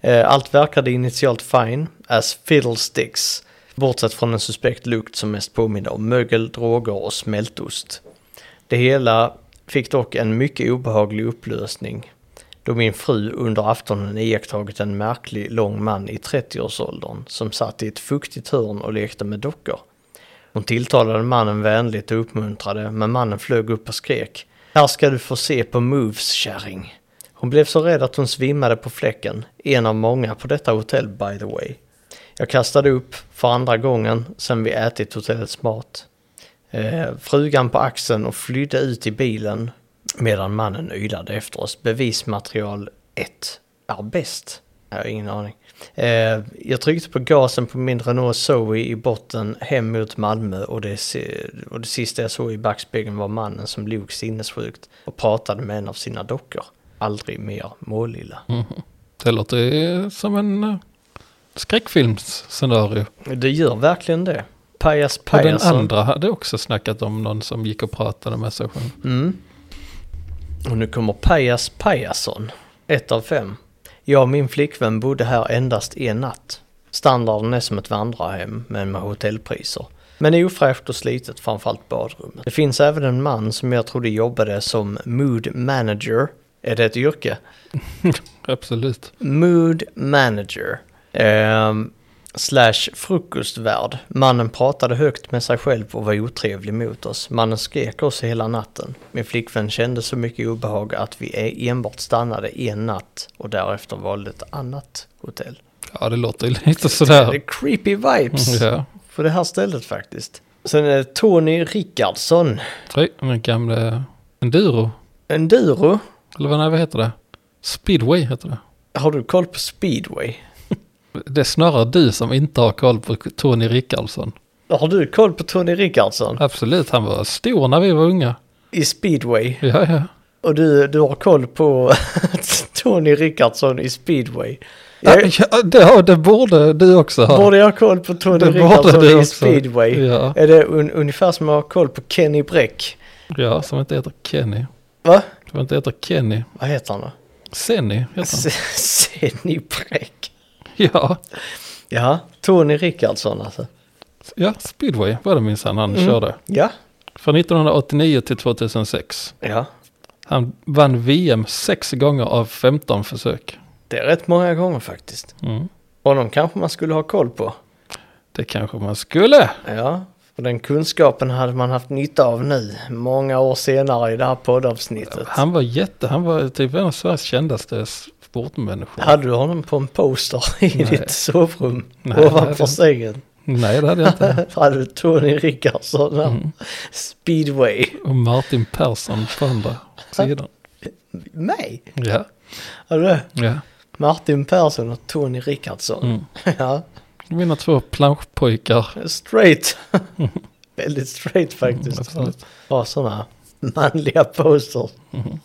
Eh, Allt verkade initialt fine, as fiddlesticks. Bortsett från en suspekt lukt som mest påminner om mögel, droger och smältost. Det hela fick dock en mycket obehaglig upplösning då min fru under aftonen iakttagit en märklig lång man i 30-årsåldern som satt i ett fuktigt hörn och lekte med dockor. Hon tilltalade mannen vänligt och uppmuntrade, men mannen flög upp och skrek. Här ska du få se på moves, kärring. Hon blev så rädd att hon svimmade på fläcken, en av många på detta hotell by the way. Jag kastade upp för andra gången sen vi ätit hotellets mat. Eh, frugan på axeln och flydde ut i bilen medan mannen ylade efter oss. Bevismaterial 1 är bäst. Jag har ingen aning. Eh, jag tryckte på gasen på min Renault Zoe i botten hem mot Malmö och det, se- och det sista jag såg i backspegeln var mannen som log sinnessjukt och pratade med en av sina dockor. Aldrig mer Målilla. Det låter ju som en eh, skräckfilmsscenario. Det gör verkligen det. Pajas Och den Pajasson. andra hade också snackat om någon som gick och pratade med sig själv. Mm. Och nu kommer Pajas Pajasson. Ett av fem. Jag och min flickvän bodde här endast en natt. Standarden är som ett vandrarhem, men med hotellpriser. Men är ofräscht och slitet, framförallt badrummet. Det finns även en man som jag trodde jobbade som mood manager. Är det ett yrke? Absolut. Mood manager. Ehm, slash frukostvärd. Mannen pratade högt med sig själv och var otrevlig mot oss. Mannen skrek oss hela natten. Min flickvän kände så mycket obehag att vi e- enbart stannade en natt och därefter valde ett annat hotell. Ja, det låter ju lite Det sådär. Mm, är creepy vibes Ja. på det här stället faktiskt. Sen är det Tony Rickardsson. Oj, den gamle enduro. Enduro. Eller vad, nej, vad heter det? Speedway heter det. Har du koll på speedway? Det är snarare du som inte har koll på Tony Rickardsson. Har du koll på Tony Rickardsson? Absolut, han var stor när vi var unga. I speedway? Ja, ja. Och du, du har koll på Tony Rickardsson i speedway. Jag, ja det, har- det borde du också ha. borde jag ha koll på Tony det Rickardsson i också. speedway? Ja, Är det un, ungefär som att ha koll på Kenny Bräck? ja, som inte heter Kenny. Va? Som inte heter Kenny. Vad heter han då? Senny heter han. Senny Bräck. Ja, Ja, Tony Rickardsson alltså. ja speedway var det minsann han körde. Ja, Från 1989 till 2006. ja. Han vann VM sex gånger av 15 försök. Det är rätt många gånger faktiskt. Mm. Honom kanske man skulle ha koll på. Det kanske man skulle. Ja, och den kunskapen hade man haft nytta av nu, många år senare i det här poddavsnittet. Han var jätte, han var typ en av Sveriges kändaste sportmänniskor. Hade du honom på en poster i Nej. ditt sovrum Nej, Mm. det hade jag ovanför inte. sängen? Nej, det hade jag inte. hade du Tony Rickardsson där? Mm. Speedway? Och Martin Persson på andra sidan. Nej, Ja, hade du det? ja. Martin Persson och Tony Rickardsson. Mm. Ja, Mina två planschpojkar. straight. Väldigt straight faktiskt. Mm, absolut. Bara sådana manliga posters. Mhm.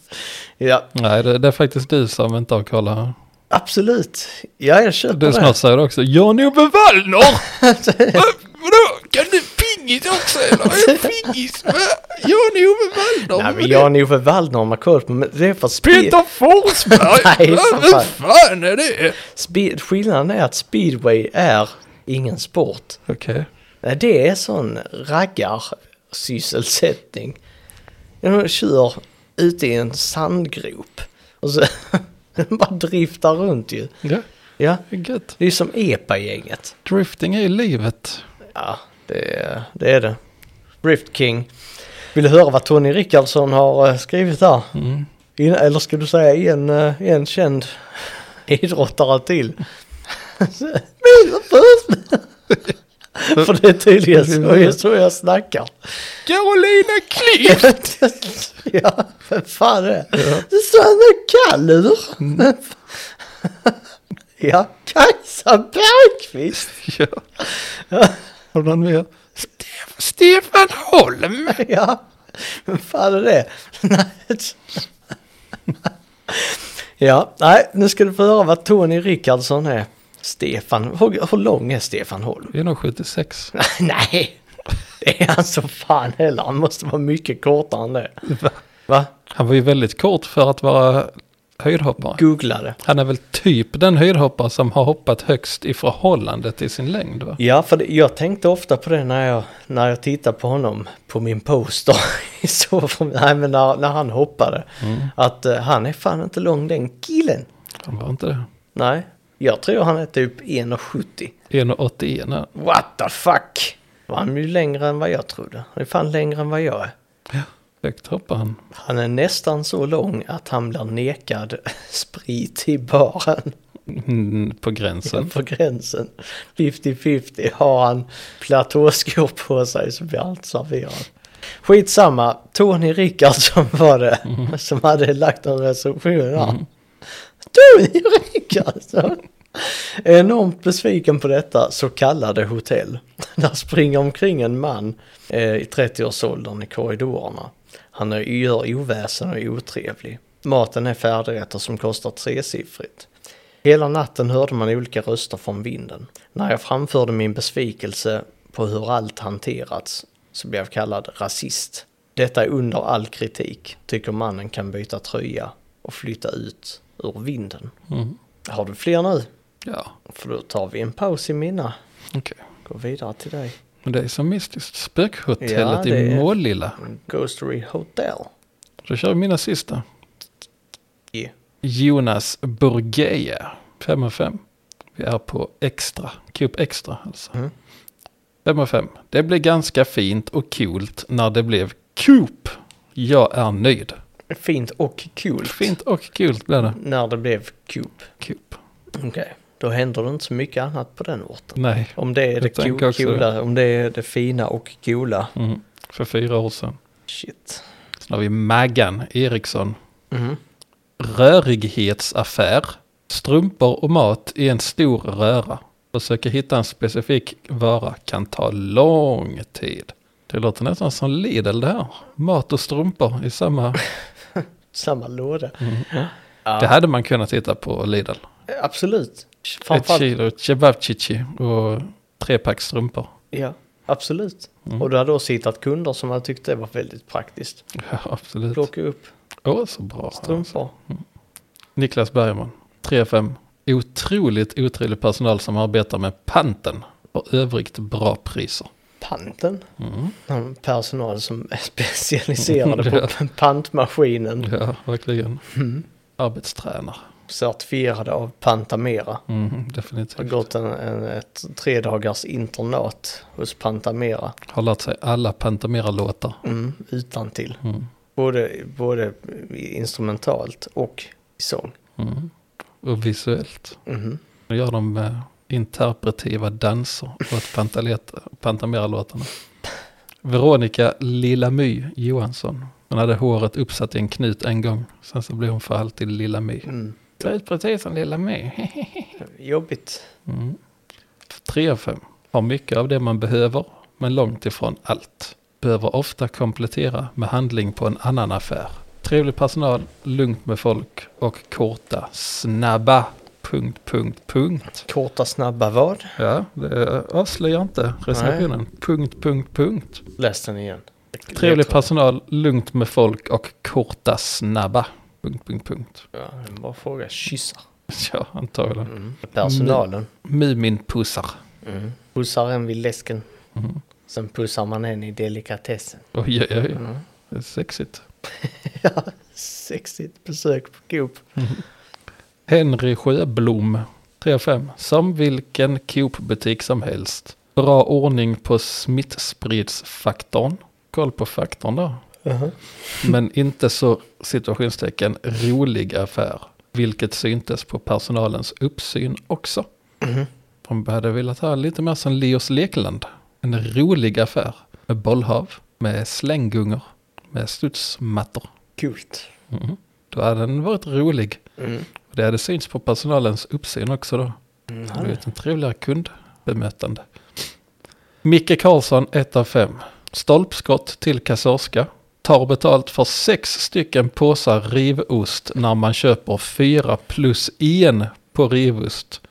Ja, Nej, det, det är faktiskt du som inte har kollat. absolut. Ja, jag köper Du det. snart säger det också. Jan-Ove Wallner! Va? Äh, Vadå? Kan du pingis också eller? Är det pingis? Äh, Va? Jan-Ove Wallner? vad är Nej, men det? Jan-Ove Wallner har man koll på. Men det är för att speed, Peter Forsberg? Nej, Va? för Vad fan är det? speed, skillnaden är att speedway är ingen sport. Okej. Nej, det är sån raggarsysselsättning. De kör ute i en sandgrop och så de bara driftar runt ju. Ja, Ja, det är gött. det är som EPA-gänget. Drifting är ju livet. Ja, det, är- det är det. Drift King. Vill du höra vad Tony Rickardsson har eh, skrivit där? Mm. In, eller ska du säga en, eh, en känd idrottare till? För det är tydligen så, så jag snackar. Carolina Klint! ja, vem fan är det? Susanne Kallur. ja, Kajsa Bergqvist. ja. Har du någon mer? Stefan Holm! Ja, vem fan är det? Nej. ja, nej, nu ska du få höra vad Tony Rickardsson är. Stefan, hur, hur lång är Stefan Holm? Det är nog 76. nej, det är han så fan heller. Han måste vara mycket kortare än det. Va? Han var ju väldigt kort för att vara höjdhoppare. Googla det. Han är väl typ den höjdhoppare som har hoppat högst i förhållande till sin längd va? Ja, för det, jag tänkte ofta på det när jag, när jag tittade på honom på min poster i sovrummet. Nej, men när, när han hoppade. Att eh, han är fan inte lång den killen. Han var inte det. Nej, jag tror han är typ 1,70. 1,81. ja. What the fuck? Var han ju längre än vad jag trodde. Han är fan längre än vad jag är. Högt hoppar han. Han är nästan så lång att han blir nekad sprit i baren. Mm, på gränsen. på gränsen. 50-50 har han platåskor på sig så blir han inte serverad. Skitsamma, Tony Rickardsson var det som hade lagt en recension där. Tony Rickardsson! Enormt besviken på detta så kallade hotell. Där springer omkring en man eh, i 30-årsåldern i korridorerna. Han är- gör oväsen och är otrevlig. Maten är färdigrätter som kostar tresiffrigt. Hela natten hörde man olika röster från vinden. När jag framförde min besvikelse på hur allt hanterats så blev jag kallad rasist. Detta är under all kritik, tycker mannen kan byta tröja och flytta ut ur vinden. Mm. Har du fler nu? Ja, För då tar vi en paus i mina. okej. Går vidare till dig. Men det är som mystiskt. Spökhotellet Ja, det i är- Målilla. Ghostery Hotel. Då kör vi mina sista. I. Jonas Burgeja, 5 av 5. Vi är på extra, Coop Extra alltså. Mm. 5 av 5. Det blev ganska fint och coolt när det blev Coop. Jag är nöjd. Fint och kul. Fint och coolt blev det. När det blev Coop. Coop. Okej, då händer det inte så mycket annat på den orten. Nej, Om det är Jag det tänker co- också det. coola, om det är det fina och coola. mm. för fyra år sedan. Shit. Sen har vi Maggan Eriksson. Rörighetsaffär. Strumpor och mat i en stor röra. Försöka hitta en specifik vara kan ta lång tid. Det låter nästan som Lidl det här. Mat och strumpor i samma. Samma låda. Mm. Det hade man kunnat hitta på Lidl. Absolut. Ett Framförallt. kilo kebabchichi och trepack strumpor. Ja, absolut. Mm. Och du hade också hittat kunder som hade tyckt det var väldigt praktiskt. Ja, absolut. Plocka upp Åh, så bra. strumpor. Niklas Bergman, 3-5. Otroligt otrevlig personal som arbetar med panten och övrigt bra priser. Panten. Mm. Någon Personal som är specialiserade på pantmaskinen. Ja, verkligen. Arbetstränare. Certifierade av Pantamera. Mm, Har definitivt. gått en, en, ett tre dagars internat hos Pantamera. Har lärt sig alla Pantamera-låtar. Mm, utan till. Mm. Både, både instrumentalt och i sång. Mm. Och visuellt. Mhm. Nu gör de eh, interpretiva danser åt Pantaleta- Pantamera-låtarna. Veronica Lilla My Johansson. Hon hade håret uppsatt i en knut en gång. Sen så blev hon för alltid Lilla My. Mm. ser ut precis som lilla My. Jobbigt. Mm. Tre av fem. Har mycket av det man behöver, men långt ifrån allt. Behöver ofta komplettera med handling på en annan affär. Trevlig personal, lugnt med folk och korta, snabba... Punkt, punkt, punkt. Korta snabba vad? Ja, det avslöjar inte recensionen. Punkt, punkt, punkt. Läs den igen. Trevlig Jag tror- personal, lugnt med folk och korta, snabba... Punkt, punkt, punkt. Ja, det är en bra fråga. Kyssar. Ja, antagligen. Mm. Personalen. Muminpussar. Mm. Pussar en vid läsken. Mm. Sen pussar man en i delikatessen. Oj, oj, oj. Mm. Det är sexigt. Ja, sexigt besök på Coop. Henry Sjöblom, 3-5. Som vilken Coop-butik som helst. Bra ordning på smittspridsfaktorn. Koll på faktorn då. Uh-huh. Men inte så situationstecken rolig affär. Vilket syntes på personalens uppsyn också. De hade velat ha lite mer som Leos Lekland. En rolig affär. Med bollhav, med slänggungar, med studsmattor. Coolt. Mm. Då hade den varit rolig. Mm. Det hade synts på personalens uppsyn också då. Det hade blivit en trevligare kundbemötande. Micke Karlsson, 1 av 5. Stolpskott till kassörska. Tar betalt för sex stycken påsar rivost när man köper fyra plus en på rivost.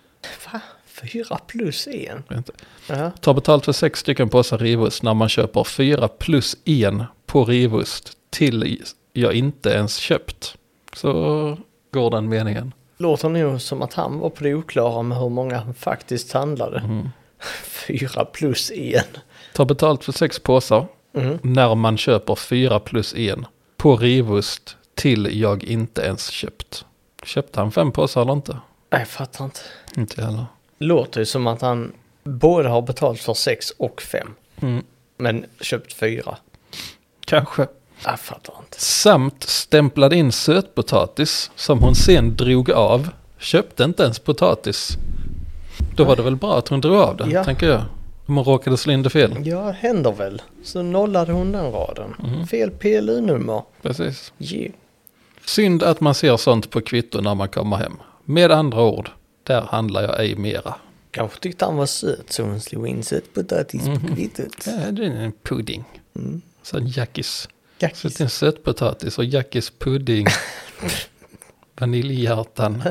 Va? Fyra plus en? Vänta. Ja. Tar betalt för sex stycken påsar rivost när man köper fyra plus en på rivost till jag inte ens köpt. Så går den meningen. Låter nog som att han var på det oklara med hur många han faktiskt handlade. Mm. Fyra plus en. Tar betalt för sex påsar Mm. när man köper 4 plus 1 på rivost till jag inte ens köpt. Köpte han fem påsar eller inte? Jag fattar inte. Inte heller. Låter ju som att han både har betalt för sex och fem. Mm. Men köpt fyra. Kanske. Jag fattar inte. Samt stämplade in sötpotatis som hon sen drog av. Köpte inte ens potatis. Då var det väl bra att hon drog av den, Ja. tänker jag. Om hon råkade slå in det fel. Ja, händer väl. Så nollade hon den raden. Mm. Fel PLU-nummer. Precis. Yeah. Synd att man ser sånt på kvitto när man kommer hem. Med andra ord, där handlar jag ej mera. Kanske tyckte han var söt så hon slog in sötpotatis på kvittot. Mm. Ja, det är en pudding. Mm. Sen Jackis. Så Jackis. det är en sötpotatis och Jackis pudding. Vaniljhjärtan.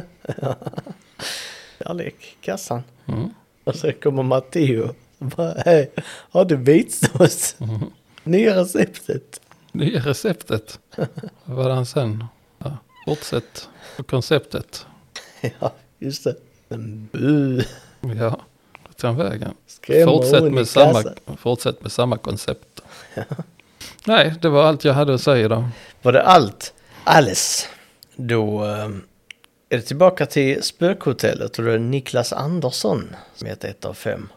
Kärlek, kassan. Mm. Och så kommer Matteo. Bara, hej, har du vitsås? Mm. Nya receptet. Nya receptet. Vad var det han sen? Ja, fortsätt på konceptet. Ja, just det. Men bu. Ja, vart tar han vägen? Skrämmer Fortsätt hon i med, samma, kassan. fortsätt med samma koncept. Nej, det var allt jag hade att säga då. Var det allt? Alles. Då eh, är det tillbaka till spökhotellet och då är det Niklas Andersson som heter ett av fem.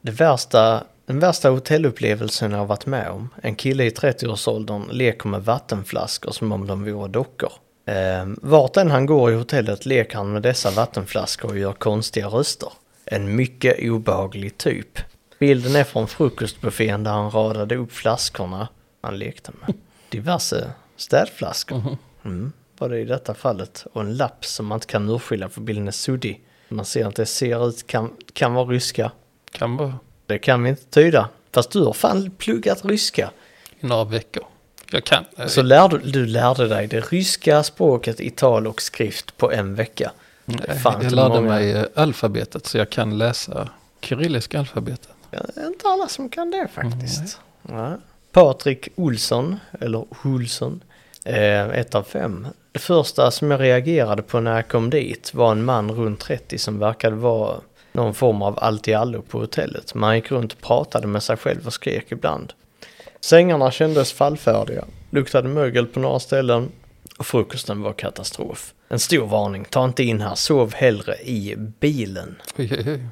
Det värsta, den värsta hotellupplevelsen jag har varit med om. En kille i 30-årsåldern leker med vattenflaskor som om de vore dockor. Eh, vart än han går i hotellet leker han med dessa vattenflaskor och gör konstiga röster. En mycket obehaglig typ. Bilden är från frukostbuffén där han radade upp flaskorna han lekte med. Diverse städflaskor. Mm, var det i detta fallet. Och en lapp som man inte kan urskilja för bilden är suddig. Man ser att det ser ut, kan, kan vara ryska. Kan vara Det kan vi inte tyda. Fast du har fan pluggat ryska. i några veckor. Jag kan. Så lärde, du lärde dig det ryska språket i tal och skrift på en vecka. Det är Nej, fan jag inte lärde många. mig eh, alfabetet så jag kan läsa kyrilliska alfabetet. Ja, det är inte alla som kan det faktiskt. Nej. Patrik Olsson, eller Olsson, eh, ett av fem. Det första som jag reagerade på när jag kom dit var en man runt 30 som verkade vara någon form av allt-i-allo på hotellet. Man gick runt och pratade med sig själv och skrek ibland. Sängarna kändes fallfärdiga, luktade mögel på några ställen och frukosten var katastrof. En stor varning, ta inte in här, sov hellre i bilen. Oj, oj, oj.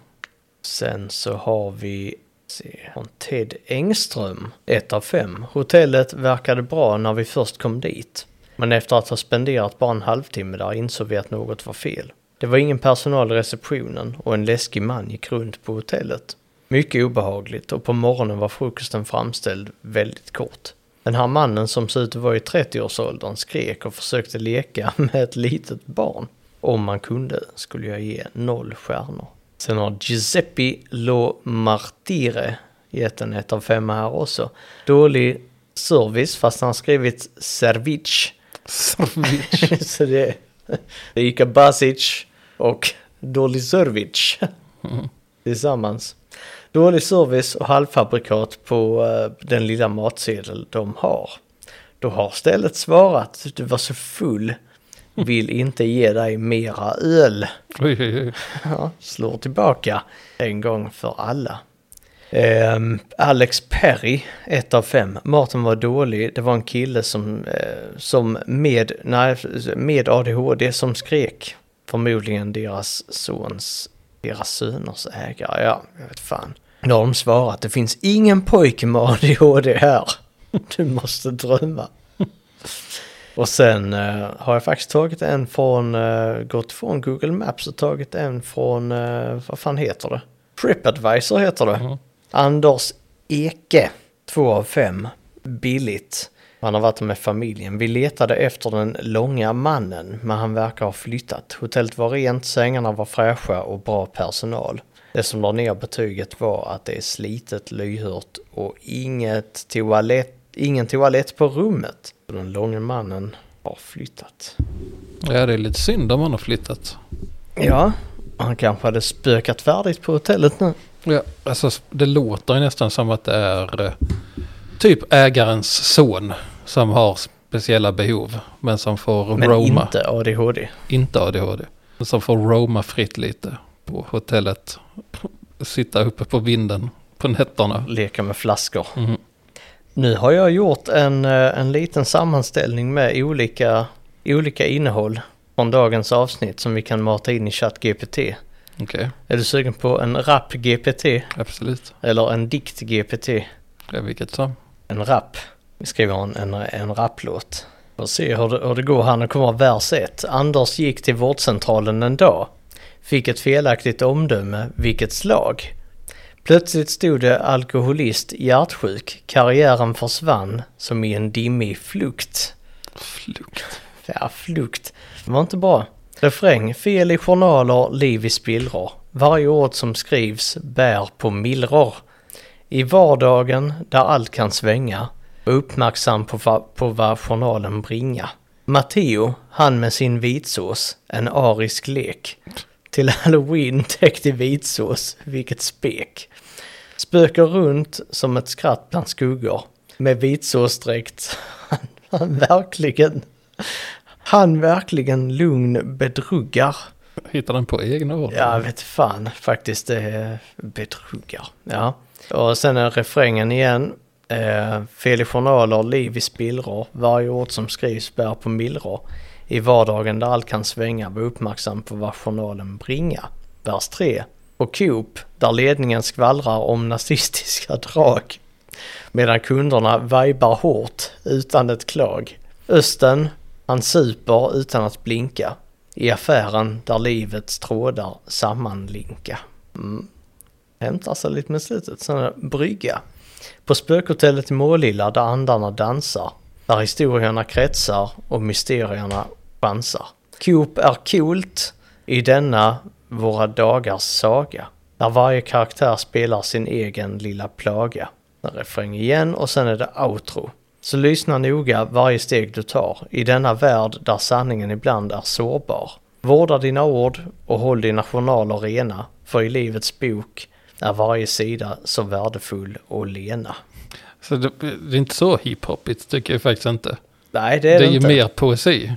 Sen så har vi se, från Ted Engström, ett av fem. Hotellet verkade bra när vi först kom dit. Men efter att ha spenderat bara en halvtimme där insåg vi att något var fel. Det var ingen personal i receptionen och en läskig man gick runt på hotellet. Mycket obehagligt och på morgonen var frukosten framställd väldigt kort. Den här mannen som såg ut att vara i 30-årsåldern skrek och försökte leka med ett litet barn. Om man kunde skulle jag ge noll stjärnor. Sen har Giuseppe Lo Martire gett en ett av fem här också. Dålig service fast han har skrivit service. Så det, det är Ica Basic och dålig service tillsammans. Dålig service och halvfabrikat på eh, den lilla matsedel de har. Då har stället svarat, du var så full, vill inte ge dig mera öl. Oj, oj, oj. Ja, slår tillbaka en gång för alla. Ehm, Alex Perry, ett av fem. Maten var dålig. Det var en kille som, eh, som med, nej, med ADHD som skrek. Förmodligen deras sons, deras söners ägare. Ja, jag vet fan. Då har de svarat, det finns ingen pojke med ADHD här. Du måste drömma. Och sen eh, har jag faktiskt tagit en från, eh, gått från Google Maps och tagit en från, eh, vad fan heter det? Tripadvisor heter det. Mhm. Anders Eke, två av fem. Billigt. Han har varit med familjen. Vi letade efter den långa mannen, men han verkar ha flyttat. Hotellet var rent, sängarna var fräscha och bra personal. Det som la ner betyget var att det är slitet, lyhört och inget toalett, ingen toalett på rummet. Den långa mannen har flyttat. Ja, det är lite synd om man har flyttat. Ja, han kanske hade spökat färdigt på hotellet nu. Ja, alltså det låter ju nästan som att det är eh, typ ägarens son som har speciella behov. Men som får Men roma. inte ADHD. inte ADHD. Som får roama fritt lite på hotellet. Sitta uppe på vinden på nätterna. Leka med flaskor. Mhm. Nu har jag gjort en, eh, en liten sammanställning med olika, olika innehåll från dagens avsnitt som vi kan mata in i ChatGPT. Okej, Är du sugen på en rap GPT absolut. eller en dikt GPT? Ja, vilket som. En rap. Vi skriver en, en, en raplåt. Får se hur det, hur det går här. Nu kommer vers 1. Anders gick till vårdcentralen en dag. Fick ett felaktigt omdöme. Vilket slag. Plötsligt stod det alkoholist, hjärtsjuk. Karriären försvann som i en dimmig flukt. Flukt. Ja, flukt. Det var inte bra. Refräng. Fel i journaler, liv i spillror. Varje ord som skrivs bär på millror. I vardagen, där allt kan svänga. Var uppmärksam på, va- på vad journalen bringa. Matteo, han med sin vitsås. En arisk lek. Till halloween täckt i vitsås. Vilket spek. Spöker runt som ett skratt bland skuggor. Med vitsåsdräkt. Han, han verkligen han verkligen lugn bedruggar. Hittar den på egna ord? Ja, jag vet fan faktiskt. Det är bedruggar. Ja. Och sen är refrängen igen. Eh, fel i journaler, liv i spillror. Varje ord som skrivs bär på millror. I vardagen där allt kan svänga, var uppmärksam på vad journalen bringa. Vers 3. Och Coop, där ledningen skvallrar om nazistiska drag. Medan kunderna vibar hårt utan ett klag. Östen, han super utan att blinka. I affären där livets trådar sammanlinka. Mm. Hämtar sig lite med slutet. Sen är det brygga. På spökhotellet i Målilla där andarna dansar. Där historierna kretsar och mysterierna chansar. Coop är coolt i denna våra dagars saga. Där varje karaktär spelar sin egen lilla plaga. En refräng igen och sen är det outro. Så lyssna noga varje steg du tar i denna värld där sanningen ibland är sårbar. Vårda dina ord och håll dina journaler rena. För i livets bok är varje sida så värdefull och lena. Så det, det är inte så hiphopigt tycker jag faktiskt inte. Nej, det Det är är, det, ju inte. mer poesi.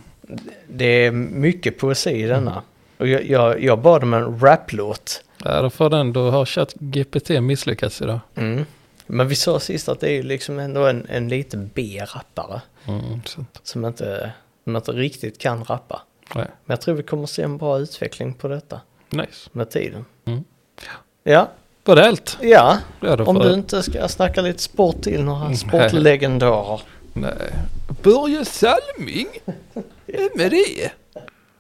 Det är mycket poesi i denna. Mm. Och jag, jag, jag bad om en raplåt. Ja, Äh, då får den, då har ChatGPT misslyckats idag. Mm. Men vi sa sist att det är ju liksom ändå en, en lite B-rappare Mm, sant. som inte, som inte riktigt kan rappa. Nej. Men jag tror vi kommer se en bra utveckling på detta Nice. med tiden. Mm. Ja, Var det allt? ja. Ja, då Om får du jag- inte ska snacka lite sport till några Mm. sportlegendarer. Nej. Börje Salming? Vem är det?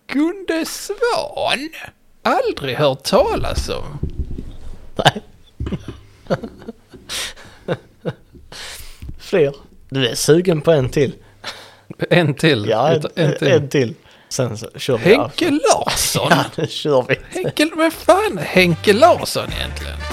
Gunde Svan? Aldrig hört talas om. Nej. Fler. Du är sugen på en till. En till. Ja, Ett- en till. En till. Sen så kör vi. Henke Larsson? Ja, nu kör vi. Henke, vem fan är Henke Larsson egentligen?